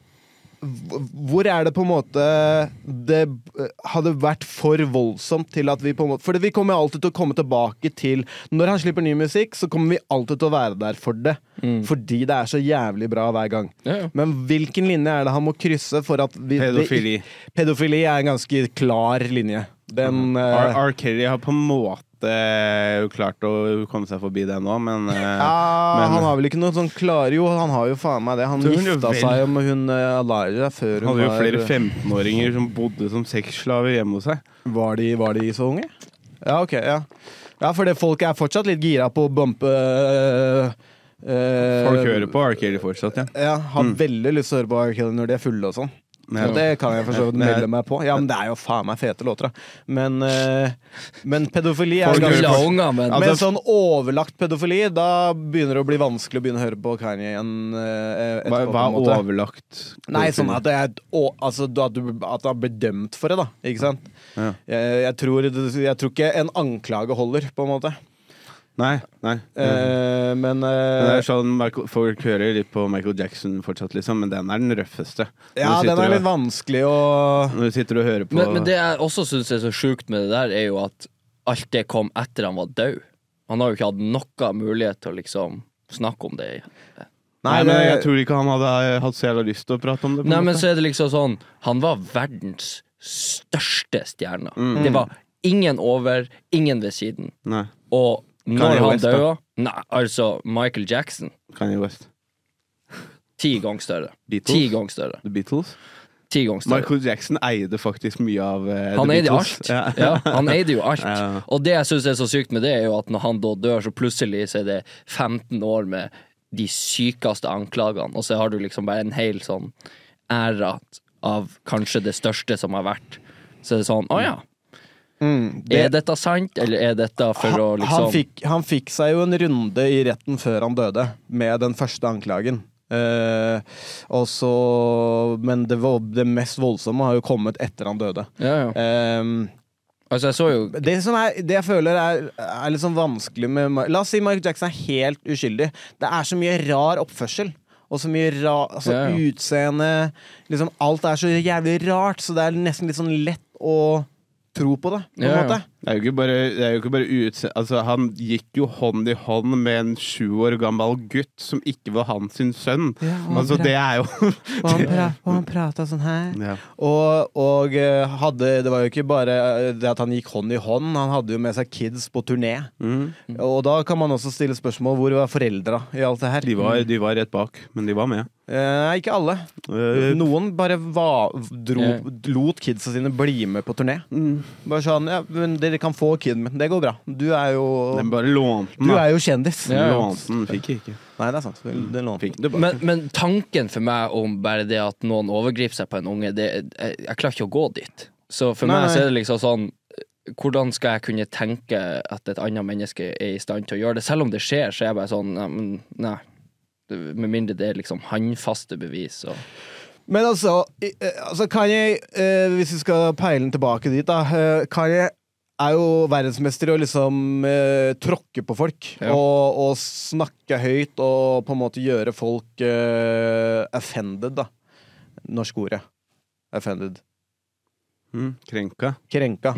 Speaker 3: hv- hvor er det på en måte det eh, hadde vært for voldsomt til at vi på en måte For vi kommer alltid til å komme tilbake til Når han slipper ny musikk, så kommer vi alltid til å være der for det. Fordi det er så jævlig bra hver gang.
Speaker 4: Ja, ja.
Speaker 3: Men hvilken linje er det han må krysse for at vi,
Speaker 2: Pedofili.
Speaker 3: Det, pedofili er en ganske klar linje. Den
Speaker 2: R.
Speaker 3: eh,
Speaker 2: R. Kelly har på en måte eh, klart å komme seg forbi det nå, men eh,
Speaker 3: Ja,
Speaker 2: men-
Speaker 3: han har vel ikke noe sånn klar Jo, han har jo faen meg det. Han
Speaker 2: Tror han jo
Speaker 3: gifta
Speaker 2: vel-
Speaker 3: seg med hun eh, Alara før
Speaker 2: Han
Speaker 3: hun
Speaker 2: hadde jo
Speaker 3: var
Speaker 2: flere 15-åringer som bodde som sexslaver hjemme hos seg.
Speaker 3: var de, var de så unge? Ja, ok. Ja, ja for det folk er fortsatt litt gira på å bumpe eh, eh,
Speaker 2: Folk hører på R. Kelly fortsatt, ja.
Speaker 3: Ja, har veldig lyst til å høre på R. Kelly når de er fulle og sånn.
Speaker 2: Ja.
Speaker 3: Og det kan jeg for så vidt
Speaker 2: Det er-
Speaker 3: melde meg på. Ja, men det er jo faen meg fete låter, da. Men, eh, men pedofili er
Speaker 2: Folk
Speaker 3: ganske-
Speaker 2: hører
Speaker 4: Lille unger, men
Speaker 3: Men
Speaker 2: Altså-
Speaker 3: sånn overlagt pedofili, da begynner det å bli vanskelig å begynne å høre på Kanye igjen.
Speaker 2: Hva,
Speaker 3: eh, etterpå,
Speaker 2: hva
Speaker 3: på en måte.
Speaker 2: er overlagt?
Speaker 3: Nei, sånn at det er å, altså, at, du, at du har blitt dømt for det, da. Ikke sant?
Speaker 2: Ja.
Speaker 3: Jeg, jeg, tror, jeg tror ikke en anklage holder, på en måte.
Speaker 2: Nei, nei.
Speaker 3: Eh, men
Speaker 2: Mhm. Men
Speaker 3: eh,
Speaker 2: det er sånn Michael, Folk hører litt på Michael Jackson fortsatt, liksom, men den er den røffeste. Når
Speaker 3: Ja,
Speaker 2: du sitter
Speaker 3: den er litt
Speaker 2: og,
Speaker 3: vanskelig å
Speaker 2: Når du sitter og hører på
Speaker 4: Men, men det jeg også syns er så sjukt med det der, er jo at alt det kom etter han var død. Han har jo ikke hatt noe mulighet til å liksom snakke om det.
Speaker 2: Nei, men jeg
Speaker 3: det-
Speaker 2: tror ikke han hadde eh, hatt så jævla lyst til å prate om det. på en
Speaker 4: Nei, men
Speaker 2: måte.
Speaker 4: så er det liksom sånn Han var verdens største stjerne.
Speaker 3: Mm.
Speaker 4: Det var ingen over, ingen ved siden.
Speaker 2: Nei,
Speaker 4: Og
Speaker 2: Kanye
Speaker 4: når han
Speaker 2: West, da?
Speaker 4: døde Nei, altså Michael Jackson.
Speaker 2: Kanye West.
Speaker 4: Ti ganger større.
Speaker 2: Beatles?
Speaker 4: Ti ganger større.
Speaker 2: The Beatles.
Speaker 4: Ti ganger større.
Speaker 2: Michael Jackson eide faktisk mye av eh,
Speaker 4: Han
Speaker 2: The
Speaker 4: eide jo
Speaker 2: Beatles.
Speaker 4: alt.
Speaker 2: Ja.
Speaker 4: Ja. han eide jo alt.
Speaker 2: Ja.
Speaker 4: Og det jeg syns er så sykt med det, er jo at når han da dør, så plutselig så er det 15 år med de sykeste anklagene, og så har du liksom bare en hel sånn æra av kanskje det største som har vært. Så er det sånn, å ja. er dette sant, eller er dette for å
Speaker 3: han,
Speaker 4: liksom
Speaker 3: han, fikk, han fikk seg jo en runde i retten før han døde, med den første anklagen. Eh, og så Men det, var, det mest voldsomme har jo kommet etter han døde.
Speaker 4: ja, ja.
Speaker 3: Eh,
Speaker 4: Altså, jeg så jo
Speaker 3: Det, som er, det jeg føler er, er litt sånn vanskelig med Ma- La oss si Michael Jackson er helt uskyldig. Det er så mye rar oppførsel. Og så mye ra, altså
Speaker 4: Ja, ja.
Speaker 3: utseende liksom Alt er så jævlig rart, så det er nesten litt sånn lett å tro på det. På en
Speaker 4: Ja, ja.
Speaker 3: måte.
Speaker 2: Det er jo ikke bare, det er jo ikke bare utse... Altså, han gikk jo hånd i hånd med en sju år gammel gutt som ikke var hans sin sønn.
Speaker 3: og
Speaker 2: altså,
Speaker 3: bra.
Speaker 2: det er jo
Speaker 3: Og han, pra, og han prata sånn her.
Speaker 2: ja.
Speaker 3: Og, og eh, hadde, det var jo ikke bare eh, det at han gikk hånd i hånd, han hadde jo med seg kids på turné.
Speaker 2: Mm.
Speaker 3: Og da kan man også stille spørsmål hvor var foreldra i alt det her?
Speaker 2: de, var, de var rett bak, men de var med.
Speaker 3: Eh, ikke alle.
Speaker 2: Eh,
Speaker 3: Noen bare var, dro,
Speaker 4: Ja.
Speaker 3: lot kidsa sine bli med på turné. Bare sånn ja, men 'Dere kan få kiden min. Det går bra. Du er jo,
Speaker 2: de bare lånte den,
Speaker 3: du
Speaker 2: da.
Speaker 3: er jo kjendis.'
Speaker 4: Ja.
Speaker 2: Lånte den, fikk ikke.
Speaker 3: Nei, det er sant. Den lånte
Speaker 2: Fikk den tilbake.
Speaker 4: men, men tanken for meg om bare det at noen overgriper seg på en unge, det, jeg, jeg klarer ikke å gå dit. Så for
Speaker 3: Nei,
Speaker 4: meg så
Speaker 3: nei.
Speaker 4: er det liksom sånn Hvordan skal jeg kunne tenke at et annet menneske er i stand til å gjøre det? Selv om det skjer, så er jeg bare sånn Nei. Men, nei. Med mindre det er liksom håndfaste bevis. Og,
Speaker 3: Men altså, i- eh, altså Kanye, eh, hvis vi skal peile den tilbake dit, da eh, Kanye er jo verdensmester i å liksom eh, tråkke på folk.
Speaker 4: Ja.
Speaker 3: Og, og snakke høyt og på en måte gjøre folk eh, offended, da. Norsk ordet. Offended.
Speaker 2: Mm, krenka.
Speaker 3: Krenka.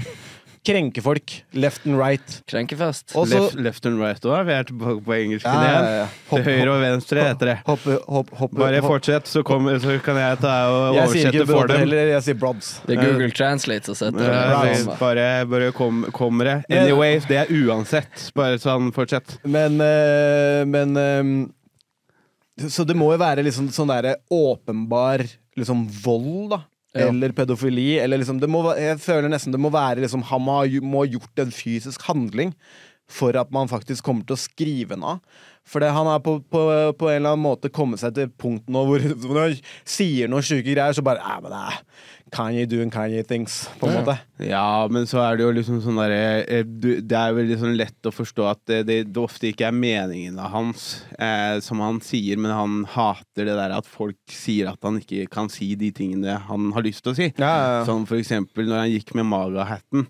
Speaker 3: Krenke folk. Left and right.
Speaker 4: krenkefest.
Speaker 3: Og så
Speaker 2: left, left and right òg, vi er tilbake på engelsken
Speaker 3: Ja, ja, ja.
Speaker 2: igjen. Til høyre og venstre heter det.
Speaker 3: Hoppe, hoppe, hoppe,
Speaker 2: Bare
Speaker 3: hoppe.
Speaker 2: fortsett, så, kommer- så kan jeg ta og
Speaker 3: Jeg sier
Speaker 2: oversette
Speaker 3: ikke
Speaker 2: for
Speaker 3: broader
Speaker 2: dem.
Speaker 3: heller, jeg sier brods.
Speaker 4: det er Google Translate som sitter
Speaker 3: eh,
Speaker 2: Ja,
Speaker 4: der.
Speaker 2: det- bare bare kom, kommer det. Anyways, det er uansett. Bare sånn, fortsett.
Speaker 3: Men, eh, men eh, Så det må jo være liksom sånn derre åpenbar liksom vold, da.
Speaker 4: Ja.
Speaker 3: Eller pedofili. Eller liksom, det må, va- jeg føler nesten det må være liksom, han må ha, gj- må ha gjort en fysisk handling for at man faktisk kommer til å skrive den av. For det, han har på, på, på en eller annen måte kommet seg til punkt nå hvor hvor når han sier noen sjuke greier, så bare Nei, men eh, det er Kanye doing Kanye things, på en måte.
Speaker 2: Ja, men så er det jo liksom sånn derre eh, du- Det er veldig sånn lett å forstå at det, det, det ofte ikke er meningene hans eh, som han sier, men han hater det der at folk sier at han ikke kan si de tingene han har lyst til å si.
Speaker 3: Ja, ja, ja.
Speaker 2: Sånn for eksempel når han gikk med Maga-hatten,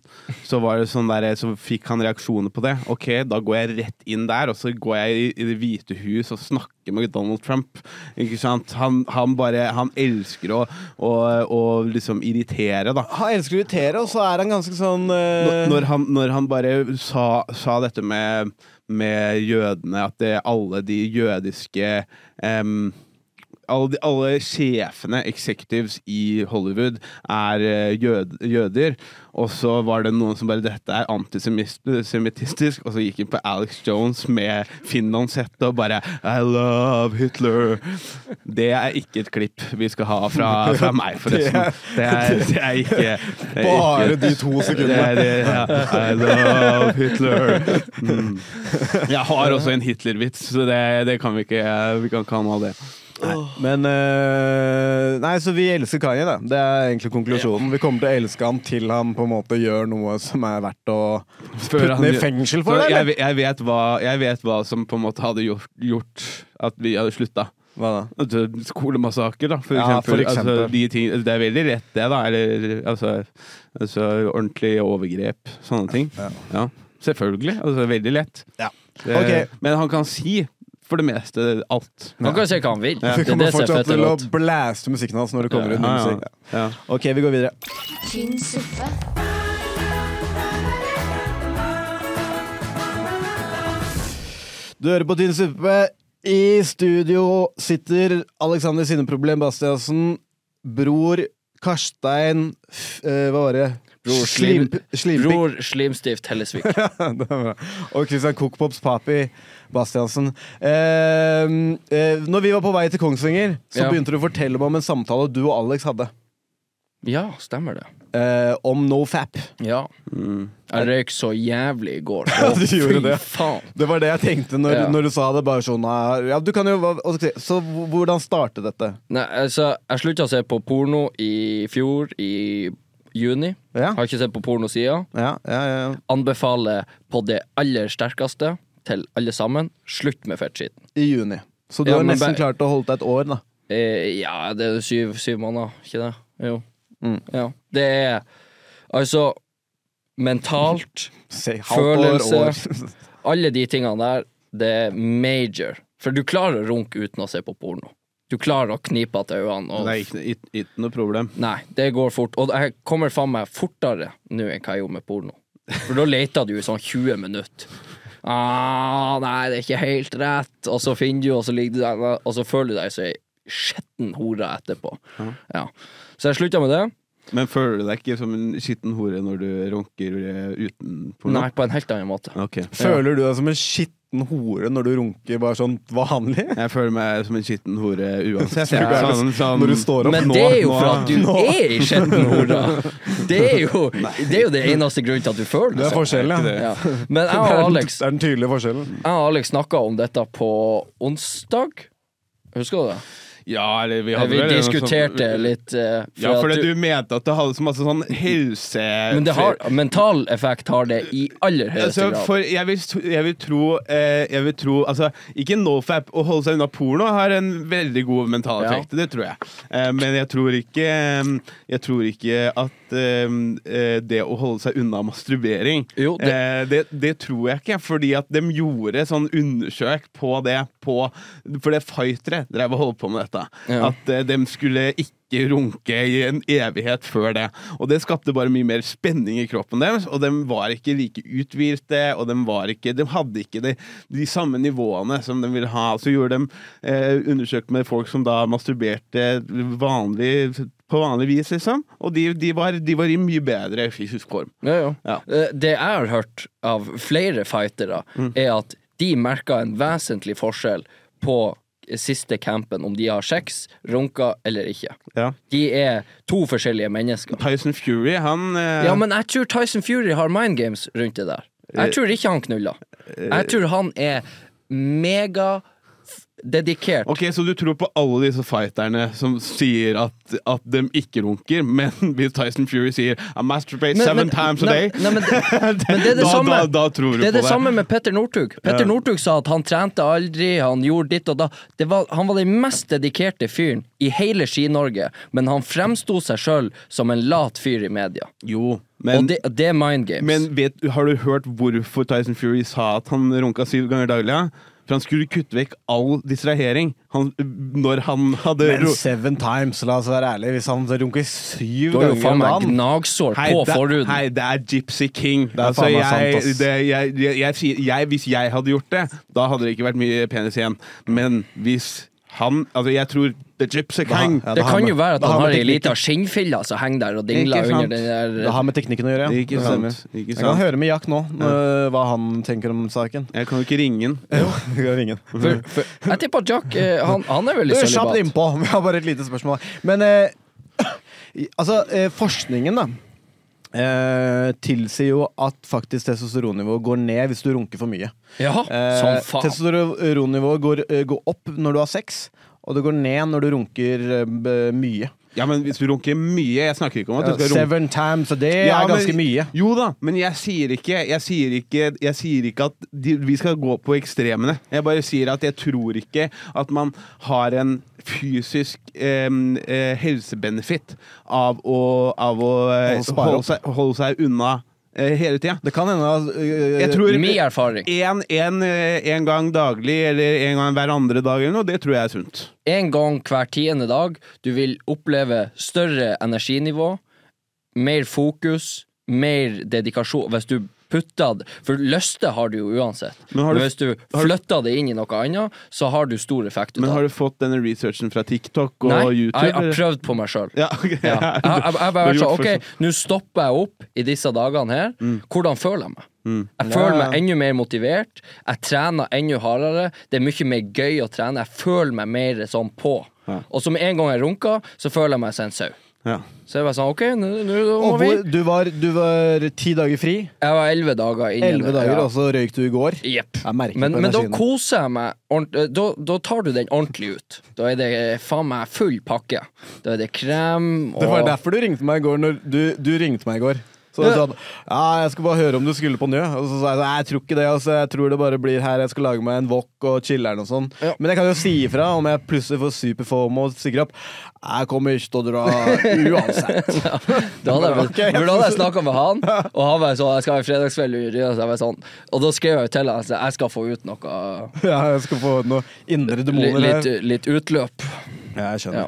Speaker 2: så var det sånn der, Så fikk han reaksjoner på det. Ok, da går jeg rett inn der, og så går jeg i, i Det hvite hus og snakker med Donald Trump. Ikke sant? Han, han bare Han elsker å, å, å liksom irritere, da.
Speaker 3: Han elsker å irritere, og så er han ganske sånn eh,
Speaker 2: Når- når han, når han bare sa, sa dette med, med jødene, at det, alle de jødiske em, alle, de, alle sjefene, executives, i Hollywood er eh, jød, jøder. Og så var det noen som bare 'Dette er antisemittistisk', og så gikk han på Alex Jones med finlandshette og bare 'I love Hitler'. Det er ikke et klipp vi skal ha fra, fra meg, forresten. Det er, det er ikke det er
Speaker 3: Bare
Speaker 2: ikke-
Speaker 3: de to sekundene.
Speaker 2: Det er det, ja. I love Hitler. Mm. Jeg har også en Hitler-vits, så det, det kan vi ikke Vi kan ikke ha noe av det.
Speaker 3: Men eh, Nei, så vi elsker Kanye, da. Det er egentlig konklusjonen. Vi kommer til å elske han til han på en måte gjør noe som er verdt å putte
Speaker 2: han
Speaker 3: han i
Speaker 2: gjør-
Speaker 3: fengsel
Speaker 2: Så
Speaker 3: for. det,
Speaker 2: jeg,
Speaker 3: eller?
Speaker 2: ve- jeg, vet hva, jeg vet hva som på en måte hadde gjort, gjort at vi hadde slutta.
Speaker 3: Hva da?
Speaker 2: Altså, Skolemassaker, da, for
Speaker 3: Ja,
Speaker 2: eksempel.
Speaker 3: for eksempel.
Speaker 2: Altså, de ting, det er veldig rett, det, da. Eller altså, altså ordentlige overgrep. Sånne ting. Ja. Selvfølgelig. Altså veldig lett. Det,
Speaker 3: Ok.
Speaker 2: Men han kan si for det meste alt.
Speaker 4: Han kan si hva han vil.
Speaker 3: Vi
Speaker 4: Det er
Speaker 3: kommer
Speaker 4: det som er
Speaker 3: fortsatt
Speaker 4: fett og
Speaker 3: til å
Speaker 4: godt.
Speaker 3: blaste musikken hans når det kommer ut ny
Speaker 2: Ja, ja.
Speaker 3: musikk.
Speaker 2: Ja.
Speaker 3: Ok, vi går videre.
Speaker 1: tynn suppe,
Speaker 3: Du hører på Tynn suppe. I studio sitter Alexander Sinneproblem Bastiassen, bror Karstein f, eh, Hva var det?
Speaker 4: Bror Slim-
Speaker 3: Slimp- Slimpik.
Speaker 4: Bror Slimstift Hellesvik.
Speaker 3: Det er bra. og Christian Cookpops papi Bastiansen. Eh, eh, når vi var på vei til Kongsvinger, så
Speaker 4: Ja.
Speaker 3: begynte du å fortelle meg om en samtale du og Alex hadde.
Speaker 4: Ja, stemmer det.
Speaker 3: Eh, om nofap.
Speaker 4: Ja. Jeg røyk så jævlig i går.
Speaker 3: Mm. Ja, du gjorde det.
Speaker 4: faen.
Speaker 3: Det var det jeg tenkte når,
Speaker 4: Ja.
Speaker 3: når du sa det. Bare sånn eh, ja, du kan jo, hva- og så- Så h- hvordan startet dette?
Speaker 4: Nei, altså, jeg slutta å se på porno i fjor, i juni.
Speaker 3: Ja.
Speaker 4: Har ikke sett på porno siden.
Speaker 3: Ja, ja, ja.
Speaker 4: Anbefaler på det aller sterkeste til alle sammen, slutt med fettskitten.
Speaker 3: I juni. Så du
Speaker 4: Ja,
Speaker 3: har
Speaker 4: men
Speaker 3: nesten
Speaker 4: bare-
Speaker 3: klart å holde deg et år, da.
Speaker 4: Eh, ja, det er jo syv, syv måneder, ikke det? Jo.
Speaker 3: Mm.
Speaker 4: Ja. Det er altså mentalt
Speaker 3: Se, halvt
Speaker 4: Følelse.
Speaker 3: år, år.
Speaker 4: Alle de tingene der, det er major. For du klarer å runke uten å se på porno. Du klarer å knipe igjen
Speaker 2: Det
Speaker 4: øynene.
Speaker 2: er
Speaker 4: Og...
Speaker 2: ikke, ikke, ikke noe problem.
Speaker 4: Nei, det går fort. Og jeg kommer faen meg fortere nå enn hva jeg gjorde med porno. For da leter du i sånn 20 minutter. Ah, nei, det er ikke helt rett. Og så finner du, og så ligger du der, og så føler du deg som ei skitten hore etterpå. Ja. Så jeg slutta med det.
Speaker 2: Men føler du deg ikke som en skitten hore når du runker eh, uten porno?
Speaker 4: Nei, på en helt annen måte.
Speaker 2: Ok.
Speaker 3: Føler du deg som en skitten hore når du runker bare sånn vanlig?
Speaker 2: Jeg føler meg som en skitten hore uansett.
Speaker 3: Tror du
Speaker 2: Jeg er
Speaker 3: det er
Speaker 2: sånn, sånn,
Speaker 3: Når du står opp
Speaker 4: Men
Speaker 3: nå
Speaker 4: det er jo for
Speaker 3: nå-
Speaker 4: at du er i skitten hora. Det er jo det, er jo det eneste grunnen til at du føler
Speaker 3: Det
Speaker 4: det
Speaker 3: er
Speaker 4: sånn.
Speaker 3: forskjellen, ja.
Speaker 4: Ja. Men jeg og Alex,
Speaker 3: Det er den tydelige forskjellen.
Speaker 4: jeg og Alex snakka om dette på onsdag. Husker du det?
Speaker 2: Ja, eller vi hadde
Speaker 4: Eh, Vi
Speaker 2: vel noe sånt-
Speaker 4: diskuterte litt eh, for
Speaker 2: Ja, for
Speaker 4: at
Speaker 2: det
Speaker 4: du,
Speaker 2: du mente at det hadde så masse sånn helse...
Speaker 4: Men det har, mental effekt har det i aller høyeste
Speaker 2: Altså,
Speaker 4: grad.
Speaker 2: for jeg vil, tro- jeg vil tro, eh, jeg vil tro altså, Ikke nofap å holde seg unna porno har en veldig god mental
Speaker 4: Ja.
Speaker 2: effekt. Det tror jeg. Eh, men jeg tror ikke eh, Jeg tror ikke at eh, eh, det å holde seg unna masturbering
Speaker 4: Jo, det-
Speaker 2: eh, det, det tror jeg ikke. Fordi at de gjorde sånn undersøk på det på For det fightere drev og holdt på med dette.
Speaker 4: Ja.
Speaker 2: At eh, de skulle ikke runke i en evighet før det. Og det skapte bare mye mer spenning i kroppen deres, og de var ikke like uthvilte, og de, var ikke, de hadde ikke de, de samme nivåene som de ville ha. Så gjorde de eh, undersøkt med folk som da masturberte vanlig, på vanlig vis, liksom, og de, de, var, de var i mye bedre fysisk form.
Speaker 4: Ja, ja.
Speaker 2: Ja.
Speaker 4: Eh, Det jeg har hørt av flere fightere,
Speaker 2: Mm.
Speaker 4: er at de merka en vesentlig forskjell på siste campen, om de har sex, runka eller ikke.
Speaker 2: Ja.
Speaker 4: De er to forskjellige mennesker.
Speaker 2: Tyson Fury, han eh,
Speaker 4: Ja, men jeg tror Tyson Fury har mind games
Speaker 2: Eh,
Speaker 4: rundt det der. Jeg tror ikke han knuller. Jeg tror han er mega dedikert.
Speaker 2: Ok, Så du tror på alle disse fighterne som sier at, at de ikke runker, men hvis Tyson Fury sier I masturbate
Speaker 4: Men-
Speaker 2: seven
Speaker 4: men-
Speaker 2: times a
Speaker 4: nei,
Speaker 2: day,
Speaker 4: nei, men det- men det er det
Speaker 2: da,
Speaker 4: samme.
Speaker 2: da, da tror du
Speaker 4: Det
Speaker 2: på
Speaker 4: er det samme med Petter Northug. Petter Northug sa at han trente aldri, han gjorde ditt og da. Det var, han var den mest dedikerte fyren i hele Ski-Norge, men han fremsto seg sjøl som en lat fyr i media.
Speaker 2: Jo, men,
Speaker 4: og det, det er mind games.
Speaker 2: men vet, har du hørt hvorfor Tyson Fury sa at han runka syv ganger daglig? ja? For han skulle kutte vekk all distrahering han, når han hadde
Speaker 3: Men
Speaker 2: ro-
Speaker 3: seven times, la oss være ærlige. Hvis han runker syv
Speaker 4: du har jo
Speaker 3: ganger
Speaker 4: faen
Speaker 3: om
Speaker 4: meg
Speaker 3: dagen
Speaker 4: gnagsår
Speaker 2: Hei,
Speaker 4: på
Speaker 2: det-
Speaker 4: forhuden.
Speaker 2: Hei, det er Gypsy King.
Speaker 3: er
Speaker 2: altså,
Speaker 3: faen meg
Speaker 2: jeg,
Speaker 3: sant, ass.
Speaker 2: det, jeg, jeg, jeg, sier- jeg, hvis jeg hadde gjort det, da hadde det ikke vært mye penis igjen. Men hvis han Altså, jeg tror The Gypsy King
Speaker 3: ja,
Speaker 4: det kan jo være at
Speaker 3: da
Speaker 4: han
Speaker 3: har
Speaker 4: har
Speaker 3: vi
Speaker 4: ei lita skinnfille som henger altså, der og
Speaker 2: Ikke
Speaker 4: dingler
Speaker 2: sant.
Speaker 4: under den
Speaker 3: Det
Speaker 4: der
Speaker 3: har med teknikken å gjøre. ja.
Speaker 2: Ikke
Speaker 3: Det stemmer.
Speaker 2: sant. Ikke
Speaker 3: Jeg kan
Speaker 2: sant.
Speaker 3: høre med Jack nå øh, hva han tenker om saken.
Speaker 2: Jeg kan jo ikke ringe den.
Speaker 3: Vi kan ringe han.
Speaker 4: for, for, Jeg tipper at Jack eh, han, han er
Speaker 3: Du,
Speaker 4: veldig
Speaker 3: kjapt
Speaker 4: sølibat.
Speaker 3: innpå. Vi har bare et lite spørsmål. Men eh, i- altså, eh, forskningen, da. Eh, tilsier jo at faktisk testosteronnivået går ned hvis du runker for mye.
Speaker 4: Ja, som
Speaker 3: Eh,
Speaker 4: faen.
Speaker 3: testosteronnivået går, eh, går opp når du har sex, og det går ned når du runker eh, b- mye.
Speaker 2: Ja, men hvis du runker mye Jeg snakker ikke om at du skal runke.
Speaker 3: Seven times, og det
Speaker 2: Ja,
Speaker 3: er ganske
Speaker 2: men-
Speaker 3: mye.
Speaker 2: Jo da, men jeg sier ikke Jeg sier ikke, jeg sier ikke at de, vi skal gå på ekstremene. Jeg bare sier at jeg tror ikke at man har en fysisk em, eh, helsebenefit av å, av å eh,
Speaker 3: Å spare
Speaker 2: holde,
Speaker 3: opp.
Speaker 2: seg, holde seg unna eh, hele tida.
Speaker 3: Det kan hende at eh,
Speaker 2: Jeg tror
Speaker 4: Min erfaring.
Speaker 2: en, en, eh, en gang daglig eller en gang hver andre dag eller noe, det tror jeg er sunt.
Speaker 4: en gang hver tiende dag. Du vil oppleve større energinivå, mer fokus, mer dedikasjon. Hvis du putter det For lyster har du jo uansett.
Speaker 2: Men
Speaker 4: Men
Speaker 2: har du-
Speaker 4: hvis du flytter det inn i noe annet, så har du stor effekt ut
Speaker 2: Men
Speaker 4: av
Speaker 2: har
Speaker 4: det.
Speaker 2: du fått denne researchen fra TikTok og
Speaker 4: Nei, jeg
Speaker 2: YouTube?
Speaker 4: jeg har
Speaker 2: eller?
Speaker 4: prøvd på meg sjøl.
Speaker 2: ja, ok.
Speaker 4: Ja. Jeg, jeg, jeg, har
Speaker 2: Du har
Speaker 4: bare vært sånn,
Speaker 2: gjort
Speaker 4: ok, nå stopper jeg opp i disse dagene her. Hvordan føler jeg meg? Jeg føler meg enda mer motivert. Jeg trener enda hardere. Det er mye mer gøy å trene. Jeg føler meg mer sånn på.
Speaker 2: Ja.
Speaker 4: Og som en gang jeg runker, så føler jeg meg som en sau.
Speaker 2: Ja.
Speaker 4: Så jeg var sånn, ok, nå nå må
Speaker 3: og
Speaker 4: vi
Speaker 3: hvor, du, var, du var ti dager fri.
Speaker 4: Jeg var elleve dager inne.
Speaker 3: Elleve dager, og så røyk du i går.
Speaker 4: Jepp.
Speaker 3: Jeg merker
Speaker 4: Men,
Speaker 3: på
Speaker 4: men da
Speaker 3: energien.
Speaker 4: koser jeg meg ordent- eh, da, da tar du den ordentlig ut. Da er det faen meg full pakke. Da er det krem og
Speaker 3: Det var derfor du ringte meg i går. Når du, du ringte meg i går. Så du sa at, ja, jeg skulle bare høre om du skulle på Njø. Og så sa jeg nei, jeg tror ikke det. Altså, jeg tror det bare blir her. Jeg skal lage meg en wok og chiller'n og sånn.
Speaker 4: Ja.
Speaker 3: Men jeg kan jo si ifra om jeg plutselig får superform og stikker opp. Jeg kommer ikke til å dra uansett.
Speaker 4: Da hadde jeg, vel-
Speaker 3: Ok.
Speaker 4: for da hadde jeg snakka med han, og han var sånn Jeg skal ha en fredagskveld i Røa, så jeg var sånn. Og da skrev jeg jo til han at jeg skal få ut noe
Speaker 3: ja, jeg skal få noe indre
Speaker 4: litt,
Speaker 3: demoner
Speaker 4: litt,
Speaker 3: her.
Speaker 4: litt utløp.
Speaker 3: Ja, jeg skjønner.
Speaker 4: Ja.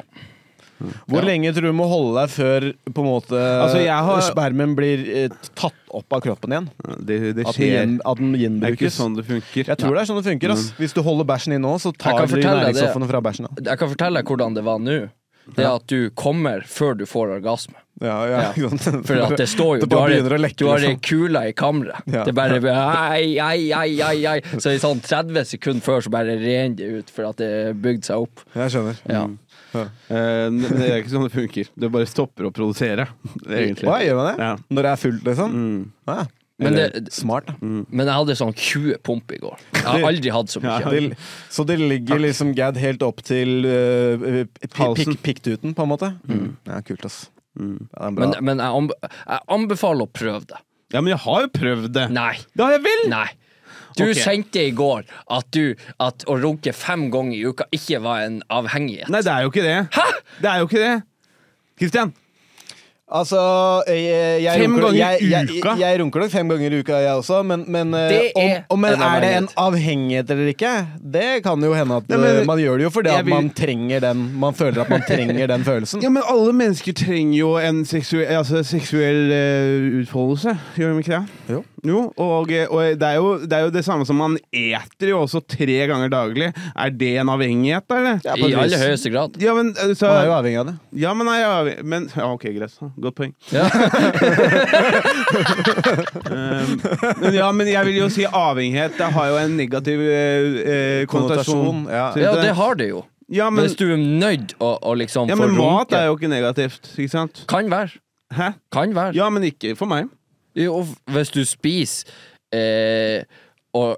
Speaker 3: Hvor
Speaker 4: Ja.
Speaker 3: lenge tror du må holde deg før på en måte
Speaker 2: Altså, jeg har-
Speaker 3: spermen blir eh, tatt opp av kroppen igjen?
Speaker 2: Det, det
Speaker 3: At den,
Speaker 2: skjer.
Speaker 3: gjen, at den
Speaker 2: Det er ikke
Speaker 3: gjenbrukes?
Speaker 2: sånn det funker.
Speaker 3: Jeg tror det er sånn det funker. Ass. Hvis du holder bæsjen inne òg, så tar
Speaker 4: kan
Speaker 3: du
Speaker 4: fortelle deg det.
Speaker 3: næringsstoffene fra bæsjen. da.
Speaker 4: Jeg kan fortelle deg hvordan det var nå. Det er at du kommer før du får orgasme.
Speaker 3: Ja, ja, ikke sant?
Speaker 4: For at det står jo
Speaker 3: Det
Speaker 4: Du
Speaker 3: bare
Speaker 4: har,
Speaker 3: begynner å
Speaker 4: ei-
Speaker 3: lekke,
Speaker 4: du har ei
Speaker 3: liksom.
Speaker 4: kule i kammeret.
Speaker 3: Ja.
Speaker 4: Det bare ei, ei, ei, ei, ei. Så i sånn 30 sekunder før så bare renner det ut, for at det bygde seg opp.
Speaker 3: Jeg skjønner. Mm.
Speaker 4: Ja.
Speaker 2: Eh, men det er ikke sånn det funker. Det bare stopper å produsere, egentlig.
Speaker 3: Hva gjør man det?
Speaker 2: Ja.
Speaker 3: Når det er fullt, liksom? Ja.
Speaker 4: Men,
Speaker 3: Eller-
Speaker 4: det,
Speaker 3: Smart. da.
Speaker 4: men jeg hadde sånn 20 pump i går. Jeg har aldri hatt så mye.
Speaker 3: Det, så det ligger liksom Gad helt opp til øh, pi-
Speaker 2: Halsen.
Speaker 3: pikk- pikktuten, på en måte? Ja, kult, ass. Ja, det er bra.
Speaker 4: Men, men jeg, anbe jeg anbefaler å prøve det.
Speaker 2: Ja, men jeg har jo prøvd det!
Speaker 4: Nei.
Speaker 2: Det har jeg vel!
Speaker 4: Nei. Du
Speaker 2: Ok.
Speaker 4: sendte i går at, du, at å runke fem ganger i uka ikke var en avhengighet.
Speaker 2: Nei, det er jo ikke det. Hæ? Det er jo ikke det. Kristian,
Speaker 3: Altså, jeg, jeg,
Speaker 2: Fem
Speaker 3: runker,
Speaker 2: ganger i
Speaker 3: jeg, jeg,
Speaker 2: uka?
Speaker 3: jeg, jeg runker nok fem ganger i uka, jeg også, men, men, eh,
Speaker 4: Det er
Speaker 3: om, om, men
Speaker 4: en
Speaker 3: er det en
Speaker 4: avhengighet.
Speaker 3: avhengighet eller ikke? Det kan jo hende at
Speaker 2: Nei, men-
Speaker 3: eh, man gjør det jo fordi
Speaker 2: Jeg
Speaker 3: at
Speaker 2: vil-
Speaker 3: man trenger den Man føler at man trenger den følelsen.
Speaker 2: Ja, men alle mennesker trenger jo en seksuell, altså, seksuell eh, utfoldelse, gjør de ikke det?
Speaker 3: Jo.
Speaker 2: og, eh, og det, er jo, det er jo det samme som man eter jo også tre ganger daglig. Er det en avhengighet, da, eller?
Speaker 3: Ja, på
Speaker 4: I
Speaker 3: et vis.
Speaker 4: aller høyeste grad.
Speaker 2: Ja, men, eh, så,
Speaker 3: Man er jo avhengig av det.
Speaker 2: ja, men, nei, ja, men ja, OK, greit. Godt poeng.
Speaker 4: Ja.
Speaker 2: Um, Men ja, men jeg vil jo si avhengighet. Det har jo en negativ eh, eh, konnotasjon.
Speaker 3: Konnotasjon, ja.
Speaker 2: Synes
Speaker 4: ja,
Speaker 2: jeg.
Speaker 4: det har det jo.
Speaker 2: ja, men,
Speaker 4: Hvis du er nødt å, å liksom
Speaker 2: ja,
Speaker 4: få
Speaker 2: men mat
Speaker 4: runke
Speaker 2: er jo ikke negativt, ikke sant?
Speaker 4: Kan være.
Speaker 2: Hæ?
Speaker 4: Kan være.
Speaker 2: Ja, men ikke for meg.
Speaker 4: Jo, hvis du spiser eh, og,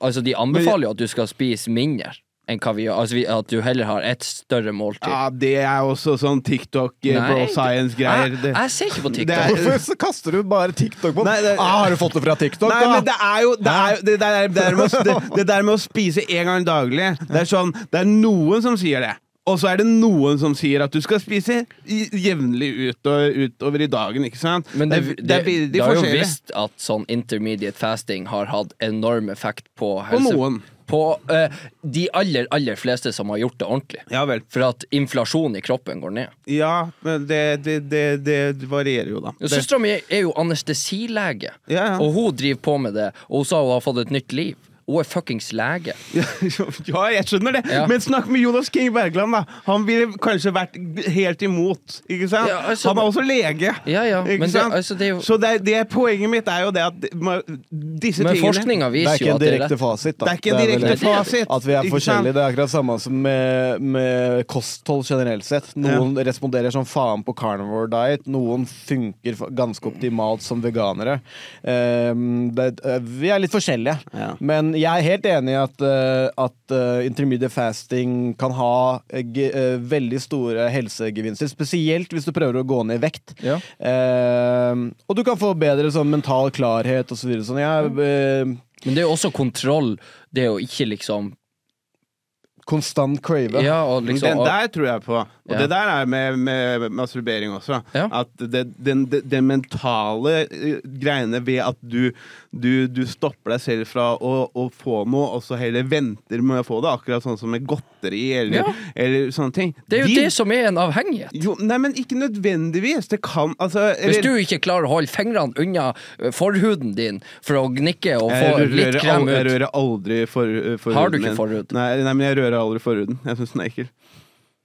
Speaker 4: Altså, de anbefaler jo at du skal spise mindre. enn hva vi gjør. Altså vi, at du heller har et større måltid.
Speaker 2: Ja, det er også sånn
Speaker 4: Nei,
Speaker 2: TikTok-bro
Speaker 4: det-
Speaker 2: science-greier.
Speaker 4: Jeg, jeg ser ikke på
Speaker 2: Det
Speaker 4: TikTok.
Speaker 2: er-
Speaker 3: Hvorfor så kaster du bare TikTok på den?
Speaker 2: Nei, det-
Speaker 3: ah, har du fått det fra TikTok,
Speaker 2: Nei,
Speaker 3: da? Ah.
Speaker 2: men det er jo Det, er, jo- det, der, det, der, med å, det, det der med å spise en gang daglig Det er sånn Det er noen som sier det. Og så er det noen som sier at du skal spise i- jevnlig ut og, utover i dagen. ikke sant?
Speaker 4: Men det,
Speaker 2: det, er veldig
Speaker 4: det har jo
Speaker 2: forskjellig.
Speaker 4: visst at sånn intermediate fasting har hatt enorm effekt på
Speaker 2: På
Speaker 4: helse.
Speaker 2: noen.
Speaker 4: På, eh, de aller, aller fleste som har gjort det ordentlig.
Speaker 2: Ja vel.
Speaker 4: For at inflasjonen i kroppen går ned.
Speaker 2: Ja, men det, det, det, det varierer jo, da. Det,
Speaker 4: Søstera mi er jo anestesilege,
Speaker 2: Ja, ja.
Speaker 4: og hun driver på med det. Og hun sa hun har fått et nytt liv. Hun er fuckings lege.
Speaker 2: ja, jeg skjønner det.
Speaker 4: Ja.
Speaker 2: Men snakk med Jonas King Bergland, da. Han ville kanskje vært helt imot, ikke sant?
Speaker 4: Ja, altså-
Speaker 2: han er også lege.
Speaker 4: Ja, ja,
Speaker 2: Ikke
Speaker 4: men det-
Speaker 2: sant?
Speaker 4: altså, det er jo-
Speaker 2: Så det, er- det er poenget mitt er jo det at ma- disse
Speaker 4: Men
Speaker 2: tingene
Speaker 3: Det
Speaker 4: forskninga
Speaker 3: er
Speaker 4: viser
Speaker 3: ikke en
Speaker 4: jo at det er
Speaker 3: direkte
Speaker 4: rett.
Speaker 3: fasit. Da.
Speaker 2: Det er ikke en
Speaker 3: vel
Speaker 2: direkte
Speaker 4: det er det.
Speaker 2: fasit.
Speaker 3: At vi er
Speaker 2: ikke
Speaker 3: forskjellige.
Speaker 2: sant?
Speaker 3: Det er akkurat samme som med, med kosthold generelt sett. Noen responderer som faen på carnivore diet, noen funker fa- ganske optimalt som veganere. Ehm, det, eh, vi er litt forskjellige.
Speaker 2: Ja.
Speaker 3: Men jeg er helt enig i at, eh, at eh, intermediate fasting kan ha eh, ge- eh, veldig store helsegevinster. Spesielt hvis du prøver å gå ned i vekt.
Speaker 4: Ja.
Speaker 3: Ehm, og du kan få bedre sånn mental klarhet osv. Så videre. sånn, jeg, eh,
Speaker 4: Men det er jo også kontroll, det å ikke liksom
Speaker 3: konstant crave.
Speaker 4: Ja, og liksom
Speaker 2: den der tror jeg på. Og
Speaker 4: Ja.
Speaker 2: det der er med, med masturbering også.
Speaker 4: Ja.
Speaker 2: At det, den, det, det mentale eh, greiene ved at du, du, du stopper deg selv fra å, å få noe, og så heller venter med å få det. Akkurat sånn som med godteri eller,
Speaker 4: Ja.
Speaker 2: eller sånne ting.
Speaker 4: Det er jo
Speaker 2: De-
Speaker 4: det som er en avhengighet.
Speaker 2: jo, nei, men ikke nødvendigvis. Det kan altså
Speaker 4: Hvis
Speaker 2: eller-
Speaker 4: du ikke klarer å holde fingrene unna eh, forhuden din for å gnikke og
Speaker 2: jeg
Speaker 4: få
Speaker 2: rører,
Speaker 4: litt krem
Speaker 2: al- Jeg
Speaker 4: ut
Speaker 2: rører aldri for, eh, forhuden.
Speaker 4: Har du ikke
Speaker 2: min.
Speaker 4: forhud?
Speaker 2: Nei, nei, men jeg rører aldri forhuden. Jeg syns den er ekkel.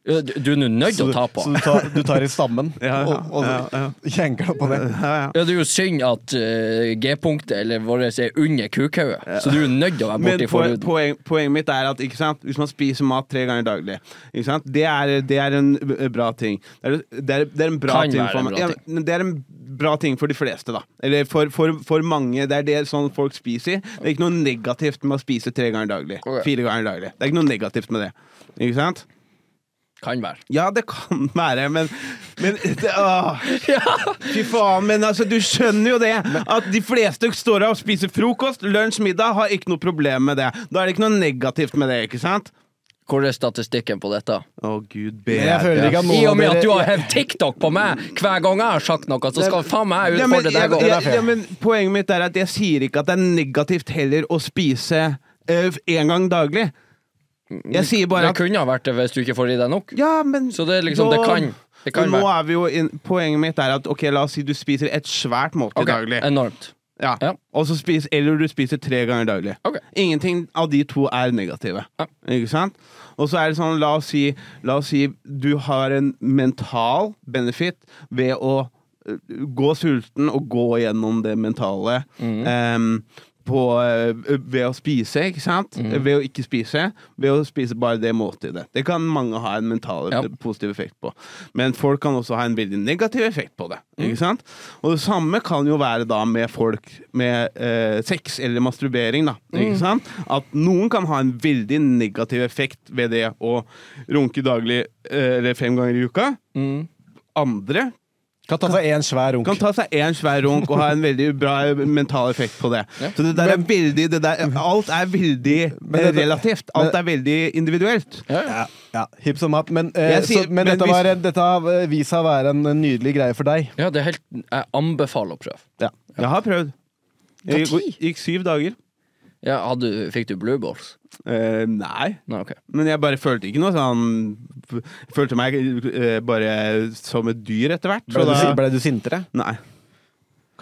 Speaker 4: Eh, Du du er nå
Speaker 3: Så,
Speaker 4: nødt til
Speaker 3: du,
Speaker 4: å ta på.
Speaker 3: så du, tar, du tar i stammen
Speaker 2: Ja, ja,
Speaker 3: og, og
Speaker 2: ja, ja.
Speaker 3: jenker deg på det.
Speaker 2: Ja, ja.
Speaker 4: Ja, det er jo synd at eh, G-punktet eller vårt er under kukhauget, så du er nødt til å være
Speaker 2: Men
Speaker 4: borti
Speaker 2: poen,
Speaker 4: forhuden.
Speaker 2: poen, poenget mitt er at ikke sant? hvis man spiser mat tre ganger daglig, ikke sant? Det, er, det er en ø, bra ting. Det er, det er, det er en bra
Speaker 4: Kan
Speaker 2: ting
Speaker 4: være
Speaker 2: for
Speaker 4: en
Speaker 2: meg.
Speaker 4: bra
Speaker 2: Ja,
Speaker 4: ting.
Speaker 2: men det er en bra ting for de fleste, da. Eller for, for, for mange. Det er det sånn folk spiser. Det er ikke noe negativt med å spise tre ganger daglig.
Speaker 4: Ok.
Speaker 2: Fire ganger daglig. Det er ikke noe negativt med det. Ikke sant?
Speaker 4: Kan være.
Speaker 2: Ja, det kan være, men, men det, åh. Fy faen, men altså, du skjønner jo det. At de fleste står av og spiser frokost, lunsj, middag, har ikke noe problem med det. Da er det ikke noe negativt med det, ikke sant?
Speaker 4: Hvor er statistikken på dette?
Speaker 2: Å, gud
Speaker 3: Men jeg føler ikke at
Speaker 4: I
Speaker 3: noen
Speaker 4: og
Speaker 3: av
Speaker 4: med
Speaker 3: dere
Speaker 4: at du har hevd TikTok på meg hver gang jeg har sagt noe, så skal faen meg jeg
Speaker 2: ja, men,
Speaker 4: utfordre
Speaker 2: jeg,
Speaker 4: deg
Speaker 2: jeg,
Speaker 4: òg.
Speaker 2: ja, men Poenget mitt er at jeg sier ikke at det er negativt heller å spise én gang daglig. Jeg sier bare
Speaker 4: Det
Speaker 2: at
Speaker 4: kunne ha vært det hvis du ikke får i deg nok.
Speaker 2: Ja, men
Speaker 4: Så det er liksom- det kan- det kan
Speaker 2: nå
Speaker 4: være.
Speaker 2: er vi jo inn, Poenget mitt er at ok, la oss si du spiser et svært måltid
Speaker 4: Ok,
Speaker 2: daglig.
Speaker 4: Enormt.
Speaker 2: Ja.
Speaker 4: Ja.
Speaker 2: Og så spis, eller du spiser tre ganger daglig.
Speaker 4: Ok.
Speaker 2: Ingenting av de to er negative.
Speaker 4: Ja.
Speaker 2: Ikke sant? Og så er det sånn, la oss, si, la oss si du har en mental benefit ved å øh, gå sulten og gå gjennom det mentale
Speaker 4: Mhm.
Speaker 2: em, på, øh, ved å spise, ikke sant?
Speaker 4: Mhm.
Speaker 2: Ved å ikke spise. Ved å spise bare det måltidet. Det kan mange ha en mental
Speaker 4: Ja.
Speaker 2: positiv effekt på. Men folk kan også ha en veldig negativ effekt på det. Ikke sant? Og det samme kan jo være da med folk med eh, sex eller masturbering. Da, ikke sant? At noen kan ha en veldig negativ effekt ved det å runke daglig eh, eller fem ganger i uka. Andre
Speaker 3: Kan ta seg én svær runk.
Speaker 2: kan ta seg én svær runk og ha en veldig bra mental effekt på det. Så det der er veldig det der, Alt er veldig eh,
Speaker 3: dette-
Speaker 2: relativt. Alt er veldig individuelt.
Speaker 3: Ja, ja. Hipp som happ. Men, eh,
Speaker 2: Jeg sier-
Speaker 3: så, men,
Speaker 2: men
Speaker 3: dette,
Speaker 2: hvis-
Speaker 3: var, en- dette har eh, vist seg å være en en nydelig greie for deg.
Speaker 4: Ja, det er helt Jeg anbefaler å prøve.
Speaker 2: Jeg har prøvd. Jeg gikk, gikk syv dager.
Speaker 4: Ja, hadde, fikk du blue balls?
Speaker 2: Eh, nei.
Speaker 4: Nei, ok.
Speaker 2: Men jeg bare følte ikke noe sånn f- Følte meg eh, bare som et dyr etter hvert.
Speaker 3: Ble
Speaker 2: Så
Speaker 3: du, si-
Speaker 2: da
Speaker 3: ble du sintere?
Speaker 2: Nei.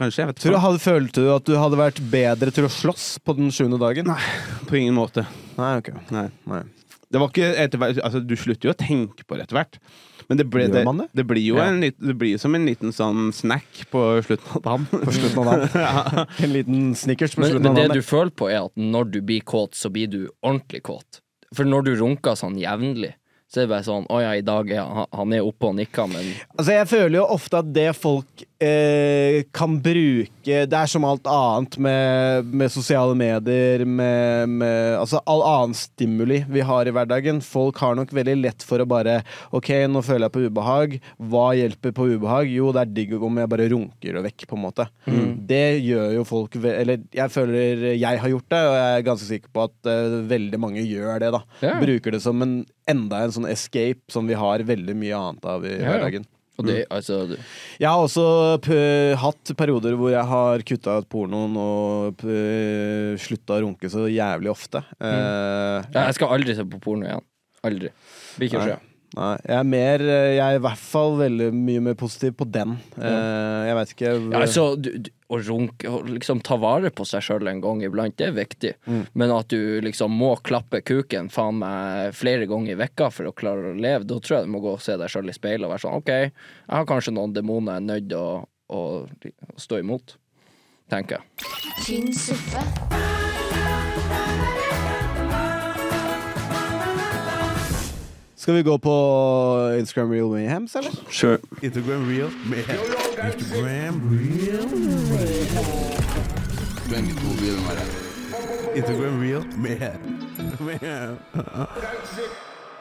Speaker 2: Kanskje. Jeg vet
Speaker 3: Tror du,
Speaker 2: ikke.
Speaker 3: hadde, følte du at du hadde vært bedre til å slåss på den sjuende dagen?
Speaker 2: Nei, på ingen måte.
Speaker 3: Nei, ok.
Speaker 2: Nei.
Speaker 3: Nei.
Speaker 2: Det var ikke etter hvert Altså, du slutter jo å tenke på det etter hvert. Men det, ble,
Speaker 3: Gjør
Speaker 2: det,
Speaker 3: man det?
Speaker 2: det blir jo
Speaker 3: Ja.
Speaker 2: en, lit- det blir som en liten sånn snack på slutten av dagen.
Speaker 3: På slutten av dagen. En liten snickers på
Speaker 4: Men,
Speaker 3: slutten
Speaker 4: men
Speaker 3: av
Speaker 4: det
Speaker 3: dagen.
Speaker 4: du føler på, er at når du blir kåt, så blir du ordentlig kåt. For når du runker sånn jevnlig, så er det bare sånn Å ja, i dag er han, han er oppe og nikker, men
Speaker 3: Altså, jeg føler jo ofte at det folk eh, kan bruke Det er som alt annet med, med sosiale medier, med, med altså all annen stimuli vi har i hverdagen. Folk har nok veldig lett for å bare OK, nå føler jeg på ubehag. Hva hjelper på ubehag? Jo, det er digg om jeg bare runker det vekk, på en måte.
Speaker 4: Mm.
Speaker 3: Det gjør jo folk ve- Eller jeg føler jeg har gjort det, og jeg er ganske sikker på at eh, veldig mange gjør det, da.
Speaker 4: Ja.
Speaker 3: Bruker det som en enda en sånn escape som vi har veldig mye annet av i
Speaker 4: Ja, ja.
Speaker 3: hverdagen.
Speaker 4: Og det,
Speaker 3: Mm.
Speaker 4: altså, du-
Speaker 3: Jeg har også eh, p- hatt perioder hvor jeg har kutta ut pornoen og p- slutta å runke så jævlig ofte. Eh,
Speaker 4: Ja, jeg skal aldri se på porno igjen. Aldri. Blir ikke å se.
Speaker 3: nei, nei, jeg er mer eh, Jeg er i hvert fall veldig mye mer positiv på den. Eh, jeg veit ikke
Speaker 4: Ja, altså, du, du, å runke å liksom ta vare på seg sjøl en gang iblant, det er viktig.
Speaker 2: Mm.
Speaker 4: Men at du liksom må klappe kuken faen meg flere ganger i vekka for å klare å leve, da tror jeg du må gå og se deg sjøl i speilet og være sånn OK, jeg har kanskje noen demoner jeg er nødt til å, å, å stå imot, tenker jeg.
Speaker 1: tynn suppe,
Speaker 3: Skal vi gå på Instagram Real Mayhems, eller?
Speaker 2: Sure.
Speaker 10: Instagram real med Instagram real Instagram real med med-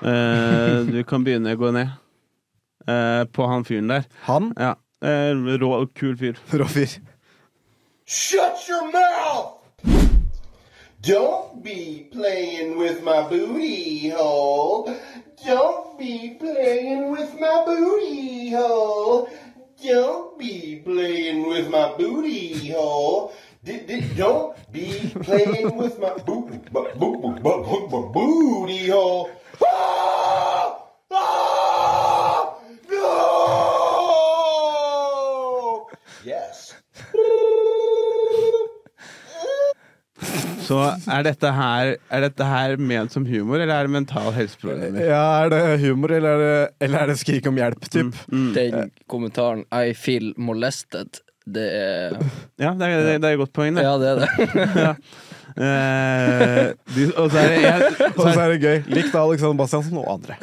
Speaker 2: Eh, du kan begynne å gå ned. Eh, på han fyren der.
Speaker 3: Han?
Speaker 2: Ja. Eh, rå og kul fyr.
Speaker 3: Rå fyr.
Speaker 7: Shut your mouth! Don't be playing with my booty hole. Don't be playing with my booty hole. Don't be playing with my booty hole. D- d- don't be playing with my boo- bu- bu- bu- bu- bu- bu- booty hole. Ah! Ah! No! Yes.
Speaker 2: Så er dette her Er dette her ment som humor, eller er det mental helseproblemer?
Speaker 3: Ja, er det humor, eller er det, eller er det skrik om hjelp? Typ?
Speaker 4: Den kommentaren 'I feel molested', det er
Speaker 2: Ja, det er, det, er et godt poeng, det.
Speaker 4: Ja, det er det.
Speaker 2: Eh, de, og så er det jeg,
Speaker 3: Og så er det gøy. Likt av Alexander Bastiansen og andre.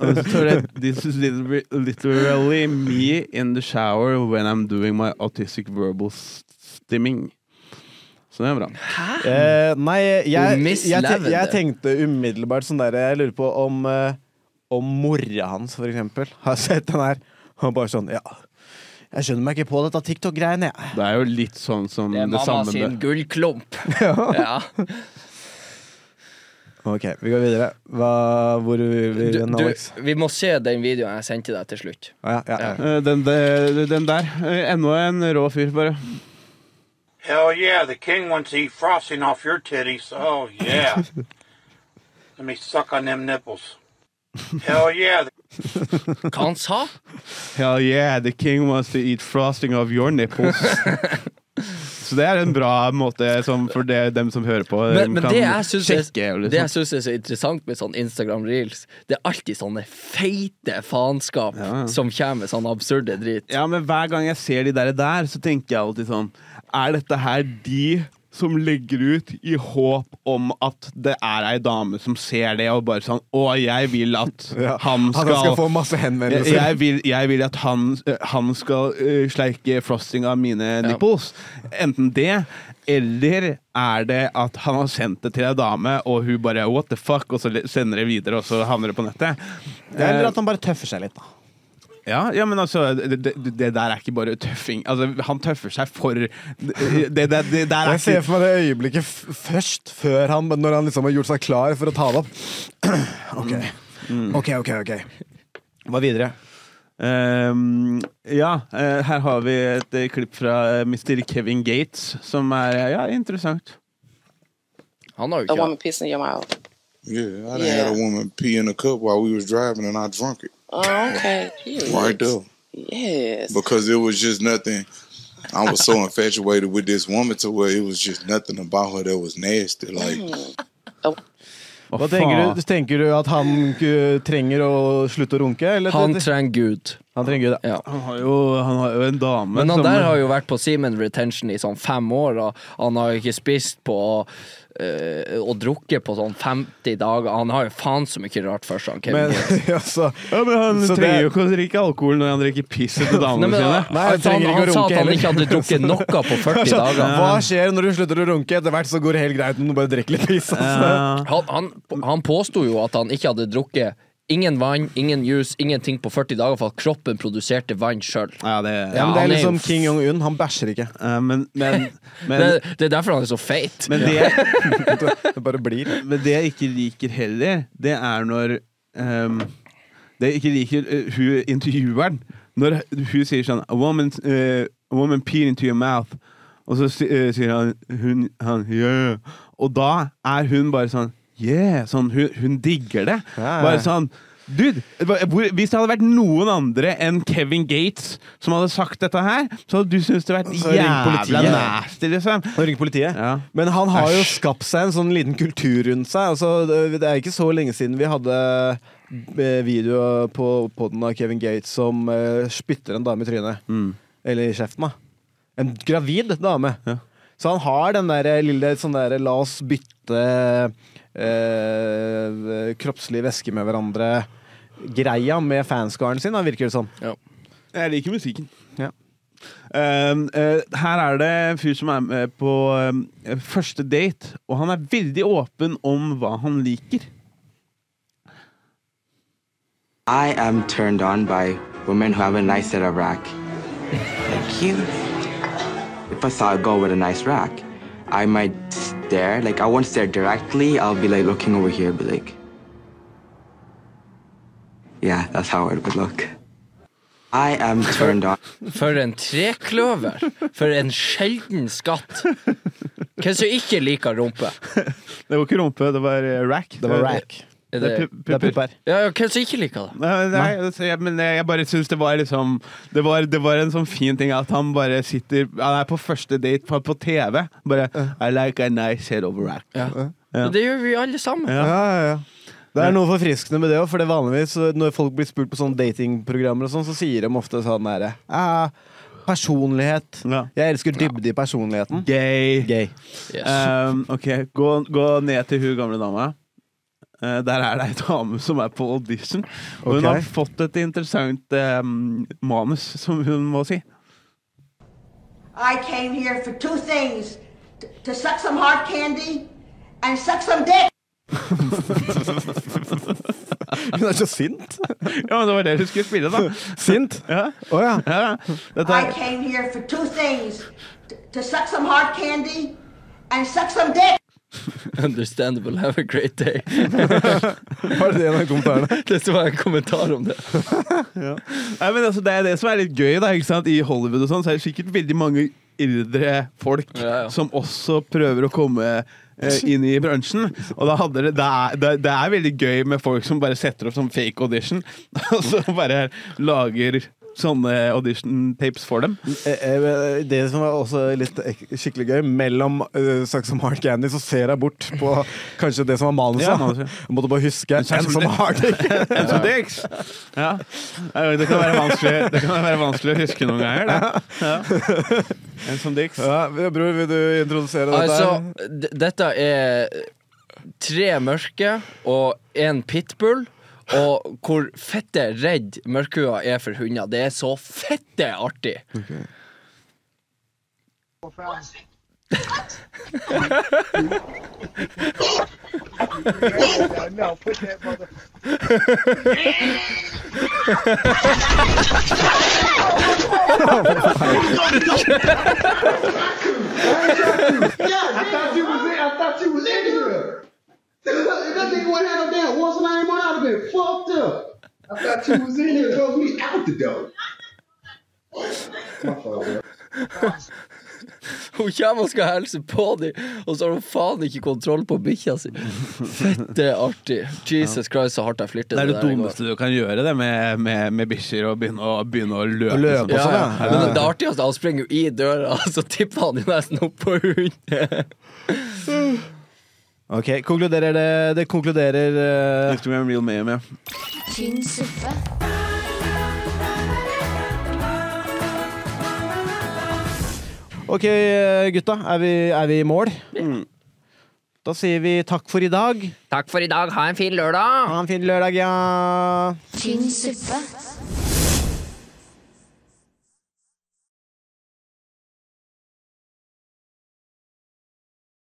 Speaker 2: og så står det This is literally, literally me in the shower when I'm doing my autistic verbal stimming. Så det er bra.
Speaker 3: Eh, nei, jeg,
Speaker 4: Oh,
Speaker 3: jeg,
Speaker 4: Miss
Speaker 3: jeg, te- jeg
Speaker 4: Lavender.
Speaker 3: tenkte umiddelbart sånn der Jeg lurer på om, eh, om mora hans, for eksempel, har sett den her. Og bare sånn Ja, jeg skjønner meg ikke på dette TikTok-greiene, jeg.
Speaker 2: Det er jo litt sånn som
Speaker 4: Det
Speaker 2: det,
Speaker 4: er mamma
Speaker 2: samme
Speaker 4: sin
Speaker 2: med
Speaker 4: gullklump. Ja.
Speaker 3: Ok, vi går videre. Hva, hvor vil vi
Speaker 4: Du,
Speaker 3: hen,
Speaker 4: du,
Speaker 3: Alex?
Speaker 4: vi må se den videoen jeg sendte deg til slutt.
Speaker 3: Ah, ja, ja, ja.
Speaker 2: Eh, den, de- den der. Eh, Enda en rå fyr, bare.
Speaker 9: Hell yeah, the king wants to eat frosting off your titties. Oh yeah. Let me suck on them nipples. Hell yeah. the-
Speaker 4: Hva han sa?
Speaker 2: Hell yeah, the king wants to eat frosting of your nipples. Så det er en bra måte som for det, dem som hører på.
Speaker 4: Men,
Speaker 2: dem
Speaker 4: men
Speaker 2: kan
Speaker 4: det jeg syns er,
Speaker 2: sjekke, liksom.
Speaker 4: det jeg synes er så interessant med sånn Instagram reels, det er alltid sånne feite faenskap som kommer med sånn absurde drit.
Speaker 2: Ja, men hver gang jeg ser de der, der så tenker jeg alltid sånn Er dette her de som legger ut i håp om at det er ei dame som ser det, og bare sånn Å, jeg vil at
Speaker 3: Ja.
Speaker 2: han
Speaker 3: Han skal
Speaker 2: skal
Speaker 3: få masse
Speaker 2: jeg,
Speaker 3: henvendelser.
Speaker 2: jeg, vil, jeg vil at han, han skal eh, sleike frosting av mine nipples. Enten det, eller er det at han har sendt det til ei dame, og hun bare what the fuck, og så le- sender det videre, og så havner det på nettet. Eh,
Speaker 3: Eller at han bare tøffer seg litt, da.
Speaker 2: Ja, ja men altså det, det, det der er ikke bare tøffing. Altså, han tøffer seg for Det, det, det, det der er
Speaker 3: Jeg ser
Speaker 2: ikke
Speaker 3: for meg det øyeblikket f først, før han, når han liksom har gjort seg klar for å ta det Mm. opp. Ok, ok, ok. ok Hva videre?
Speaker 2: Ehm, Ja, eh, her har vi et eh, klipp fra eh, Mr. Kevin Gates, som er eh, ja, interessant.
Speaker 4: Han har jo ikke
Speaker 5: pissing in your mouth.
Speaker 10: Yeah, I done
Speaker 5: Yeah.
Speaker 10: had a woman pee in a cup while we was driving, and I drunk it
Speaker 5: Oh, okay. Period.
Speaker 10: right there
Speaker 5: Yes.
Speaker 10: because it was just nothing. I was so infatuated with this woman to where it was just nothing about her that was nasty. Like
Speaker 5: Mm.
Speaker 3: Hva tenker du, tenker du at han eh, trenger å slutte å runke? Eller?
Speaker 4: Han trenger Gud.
Speaker 3: han trenger det.
Speaker 4: Ja.
Speaker 2: Han har, jo, han har jo en dame
Speaker 4: Men han
Speaker 2: som
Speaker 4: sånn der har jo vært på Seaman Retention i sånn fem år, og han har jo ikke spist på eh, og drukket på sånn 50 dager. Han har jo faen så mye rart for seg, han
Speaker 3: Men,
Speaker 4: Kevin Gates.
Speaker 3: altså,
Speaker 2: Ja, men Han
Speaker 3: Så det-
Speaker 2: trenger jo ikke å drikke alkohol når han drikker pisset til
Speaker 4: Nei,
Speaker 2: damene
Speaker 4: men,
Speaker 2: sine.
Speaker 4: han, han,
Speaker 3: trenger ikke å
Speaker 4: sa
Speaker 3: runke
Speaker 4: at han
Speaker 3: heller.
Speaker 4: ikke hadde drukket altså. noe på 40 dager.
Speaker 3: Hva skjer når du slutter å runke? Etter hvert så går det helt greit om du bare drikker litt is. Altså.
Speaker 2: Ja.
Speaker 4: Han, han, han påsto jo at han ikke hadde drukket ingen vann, ingen juice, ingenting på 40 dager, for at kroppen produserte vann sjøl.
Speaker 2: Ja, det,
Speaker 3: Ja,
Speaker 4: Ja,
Speaker 3: men det er
Speaker 4: han er jo
Speaker 3: liksom
Speaker 4: f-
Speaker 3: King Jong-un. Han bæsjer ikke.
Speaker 2: Ja, men, men,
Speaker 4: Det,
Speaker 2: men,
Speaker 4: det er derfor han er så feit.
Speaker 2: men det
Speaker 3: Det bare blir.
Speaker 2: Men det jeg ikke liker heller, det er når ehm, Det jeg ikke liker eh, hun intervjueren. Når hun sier sånn A woman, eh, a woman peed into your mouth. Og så si- eh, sier han, hun, han yeah. Og da er hun bare sånn Yeah! Sånn, hun, hun digger det.
Speaker 3: Ja, ja.
Speaker 2: Bare sånn Dude, hva- hvor- hvis det hadde vært noen andre enn Kevin Gates som hadde sagt dette her, så hadde du syntes det vært
Speaker 3: Så ring
Speaker 2: jævla
Speaker 3: politiet.
Speaker 2: nasty, liksom.
Speaker 3: Nå ringer politiet.
Speaker 2: Ja.
Speaker 3: Men han har jo skapt seg en sånn liten kultur rundt seg. Altså, det det er ikke så lenge siden vi hadde eh, video på podden av Kevin Gates som eh, spytter en dame i trynet.
Speaker 2: Mm.
Speaker 3: Eller i kjeften, da. En gravid dame. Så han har den der lille sånn der la oss bytte eh, kroppslig væske med hverandre-greia med fanskaren sin, da, virker det som.
Speaker 2: Jeg liker musikken.
Speaker 3: Ja.
Speaker 2: Um, eh, her er det en fyr som er med på um, første date, og han er veldig åpen om hva han liker.
Speaker 11: I am turned on by women who have a nice set of rack. Like you. If I saw a girl with a nice rack, I might stare. Like I won't stare directly. I'll be like looking over here, be like, yeah, that's how it would look. I am turned on.
Speaker 4: For en trekløver! For en sjelden skatt! Hvem som ikke liker rumpe?
Speaker 2: Det var ikke rumpe, det var eh, rack.
Speaker 3: Det var rack.
Speaker 2: Det
Speaker 4: Er det,
Speaker 2: er pu-
Speaker 3: Det
Speaker 2: pupper.
Speaker 3: er pupper.
Speaker 4: ja, ja, hvem som ikke liker det?
Speaker 2: Nei, nei, altså, jeg, men jeg bare syns det var liksom det var, det var en sånn fin ting at han bare sitter Han er på første date på, på TV. Bare I like a nice head over rack.
Speaker 4: Ja. Men Det gjør vi alle sammen.
Speaker 2: Ja.
Speaker 3: Ja, ja, ja. Det er noe forfriskende med det òg, for det er vanligvis så når folk blir spurt på sånne datingprogrammer, og sånn, så sier de ofte sånn derre «Ah, Personlighet.
Speaker 2: Ja.
Speaker 3: Jeg elsker dybde i personligheten.
Speaker 2: Gay.
Speaker 3: Gay.
Speaker 4: Yes.
Speaker 2: Um, ok, gå, gå ned til hun gamle dama. Eh, der er det ei dame som er på audition. Og
Speaker 3: Ok.
Speaker 2: hun har fått et interessant em, manus, som hun må si.
Speaker 5: I came here for two things t- to suck some hard candy and suck some dick.
Speaker 3: Hun er så sint!
Speaker 2: Ja, men Det var det hun skulle spille, da.
Speaker 3: Sint?
Speaker 2: Ja.
Speaker 3: Å ja.
Speaker 2: Ja, dette
Speaker 5: I
Speaker 2: er,
Speaker 5: came here for two things t- to suck some hard candy and suck some dick.
Speaker 4: Understandable, have a great day.
Speaker 3: Var det det en av kommentarene?
Speaker 4: Det var en kommentar om det.
Speaker 2: nei, men altså, det er det som er litt gøy da, ikke sant? i Hollywood. og sånn, så er det sikkert veldig mange eldre folk
Speaker 4: Ja, ja.
Speaker 2: som også prøver å komme eh, inn i bransjen. Og da hadde det, det, er, det, det er veldig gøy med folk som bare setter opp sånn fake audition, og så bare lager sånne audition tapes for dem.
Speaker 3: Eh, eh, Det som var også litt ek- skikkelig gøy, mellom eh, Sucks som Hard Candy, så ser jeg bort på kanskje det som var manuset.
Speaker 2: Ja, manuset.
Speaker 3: Jeg Måtte bare huske
Speaker 2: Sucks
Speaker 3: en
Speaker 2: som
Speaker 3: som
Speaker 2: dick.
Speaker 3: har det.
Speaker 2: And some dicks. Ja. Eh, Det kan være vanskelig, det kan være vanskelig å huske noen ganger. det. Ja. And some dicks.
Speaker 3: Ja, bror, vil du introdusere dette? her?
Speaker 4: Altså, d- dette er tre mørke og en pitbull. Og hvor fette redd mørkhua er for hunder. Det er så fette artig!
Speaker 7: I thought you was in, I thought you was in here. If that nigga would have had a damn once and I ain't one, I'd have been fucked up. I thought you was in here, drove me out the door. My fault, bro.
Speaker 4: Hun kommer og skal hilse på dem, og så har hun faen ikke kontroll på bikkja si! Fette artig. Jesus Christ, så hardt jeg flirte.
Speaker 2: Det er det
Speaker 4: der i går.
Speaker 2: dummeste du kan gjøre, det med, med, med bikkjer, å begynne å, begynne å løpe.
Speaker 3: løpe.
Speaker 2: sånn.
Speaker 4: Ja,
Speaker 3: Også
Speaker 4: ja.
Speaker 3: det.
Speaker 4: Men det artigste, han springer jo i døra, og så tipper han jo nesten opp på hunden.
Speaker 3: Ok, konkluderer det, det konkluderer eh,
Speaker 2: Instagram real meme, ja.
Speaker 1: Tynn suppe.
Speaker 2: Mm.
Speaker 3: Ok, gutta. Er vi, er vi i mål?
Speaker 2: Da sier vi takk for i dag.
Speaker 4: Takk for i dag. Ha en fin lørdag.
Speaker 2: Ha en fin lørdag, ja.
Speaker 1: Tynn suppe.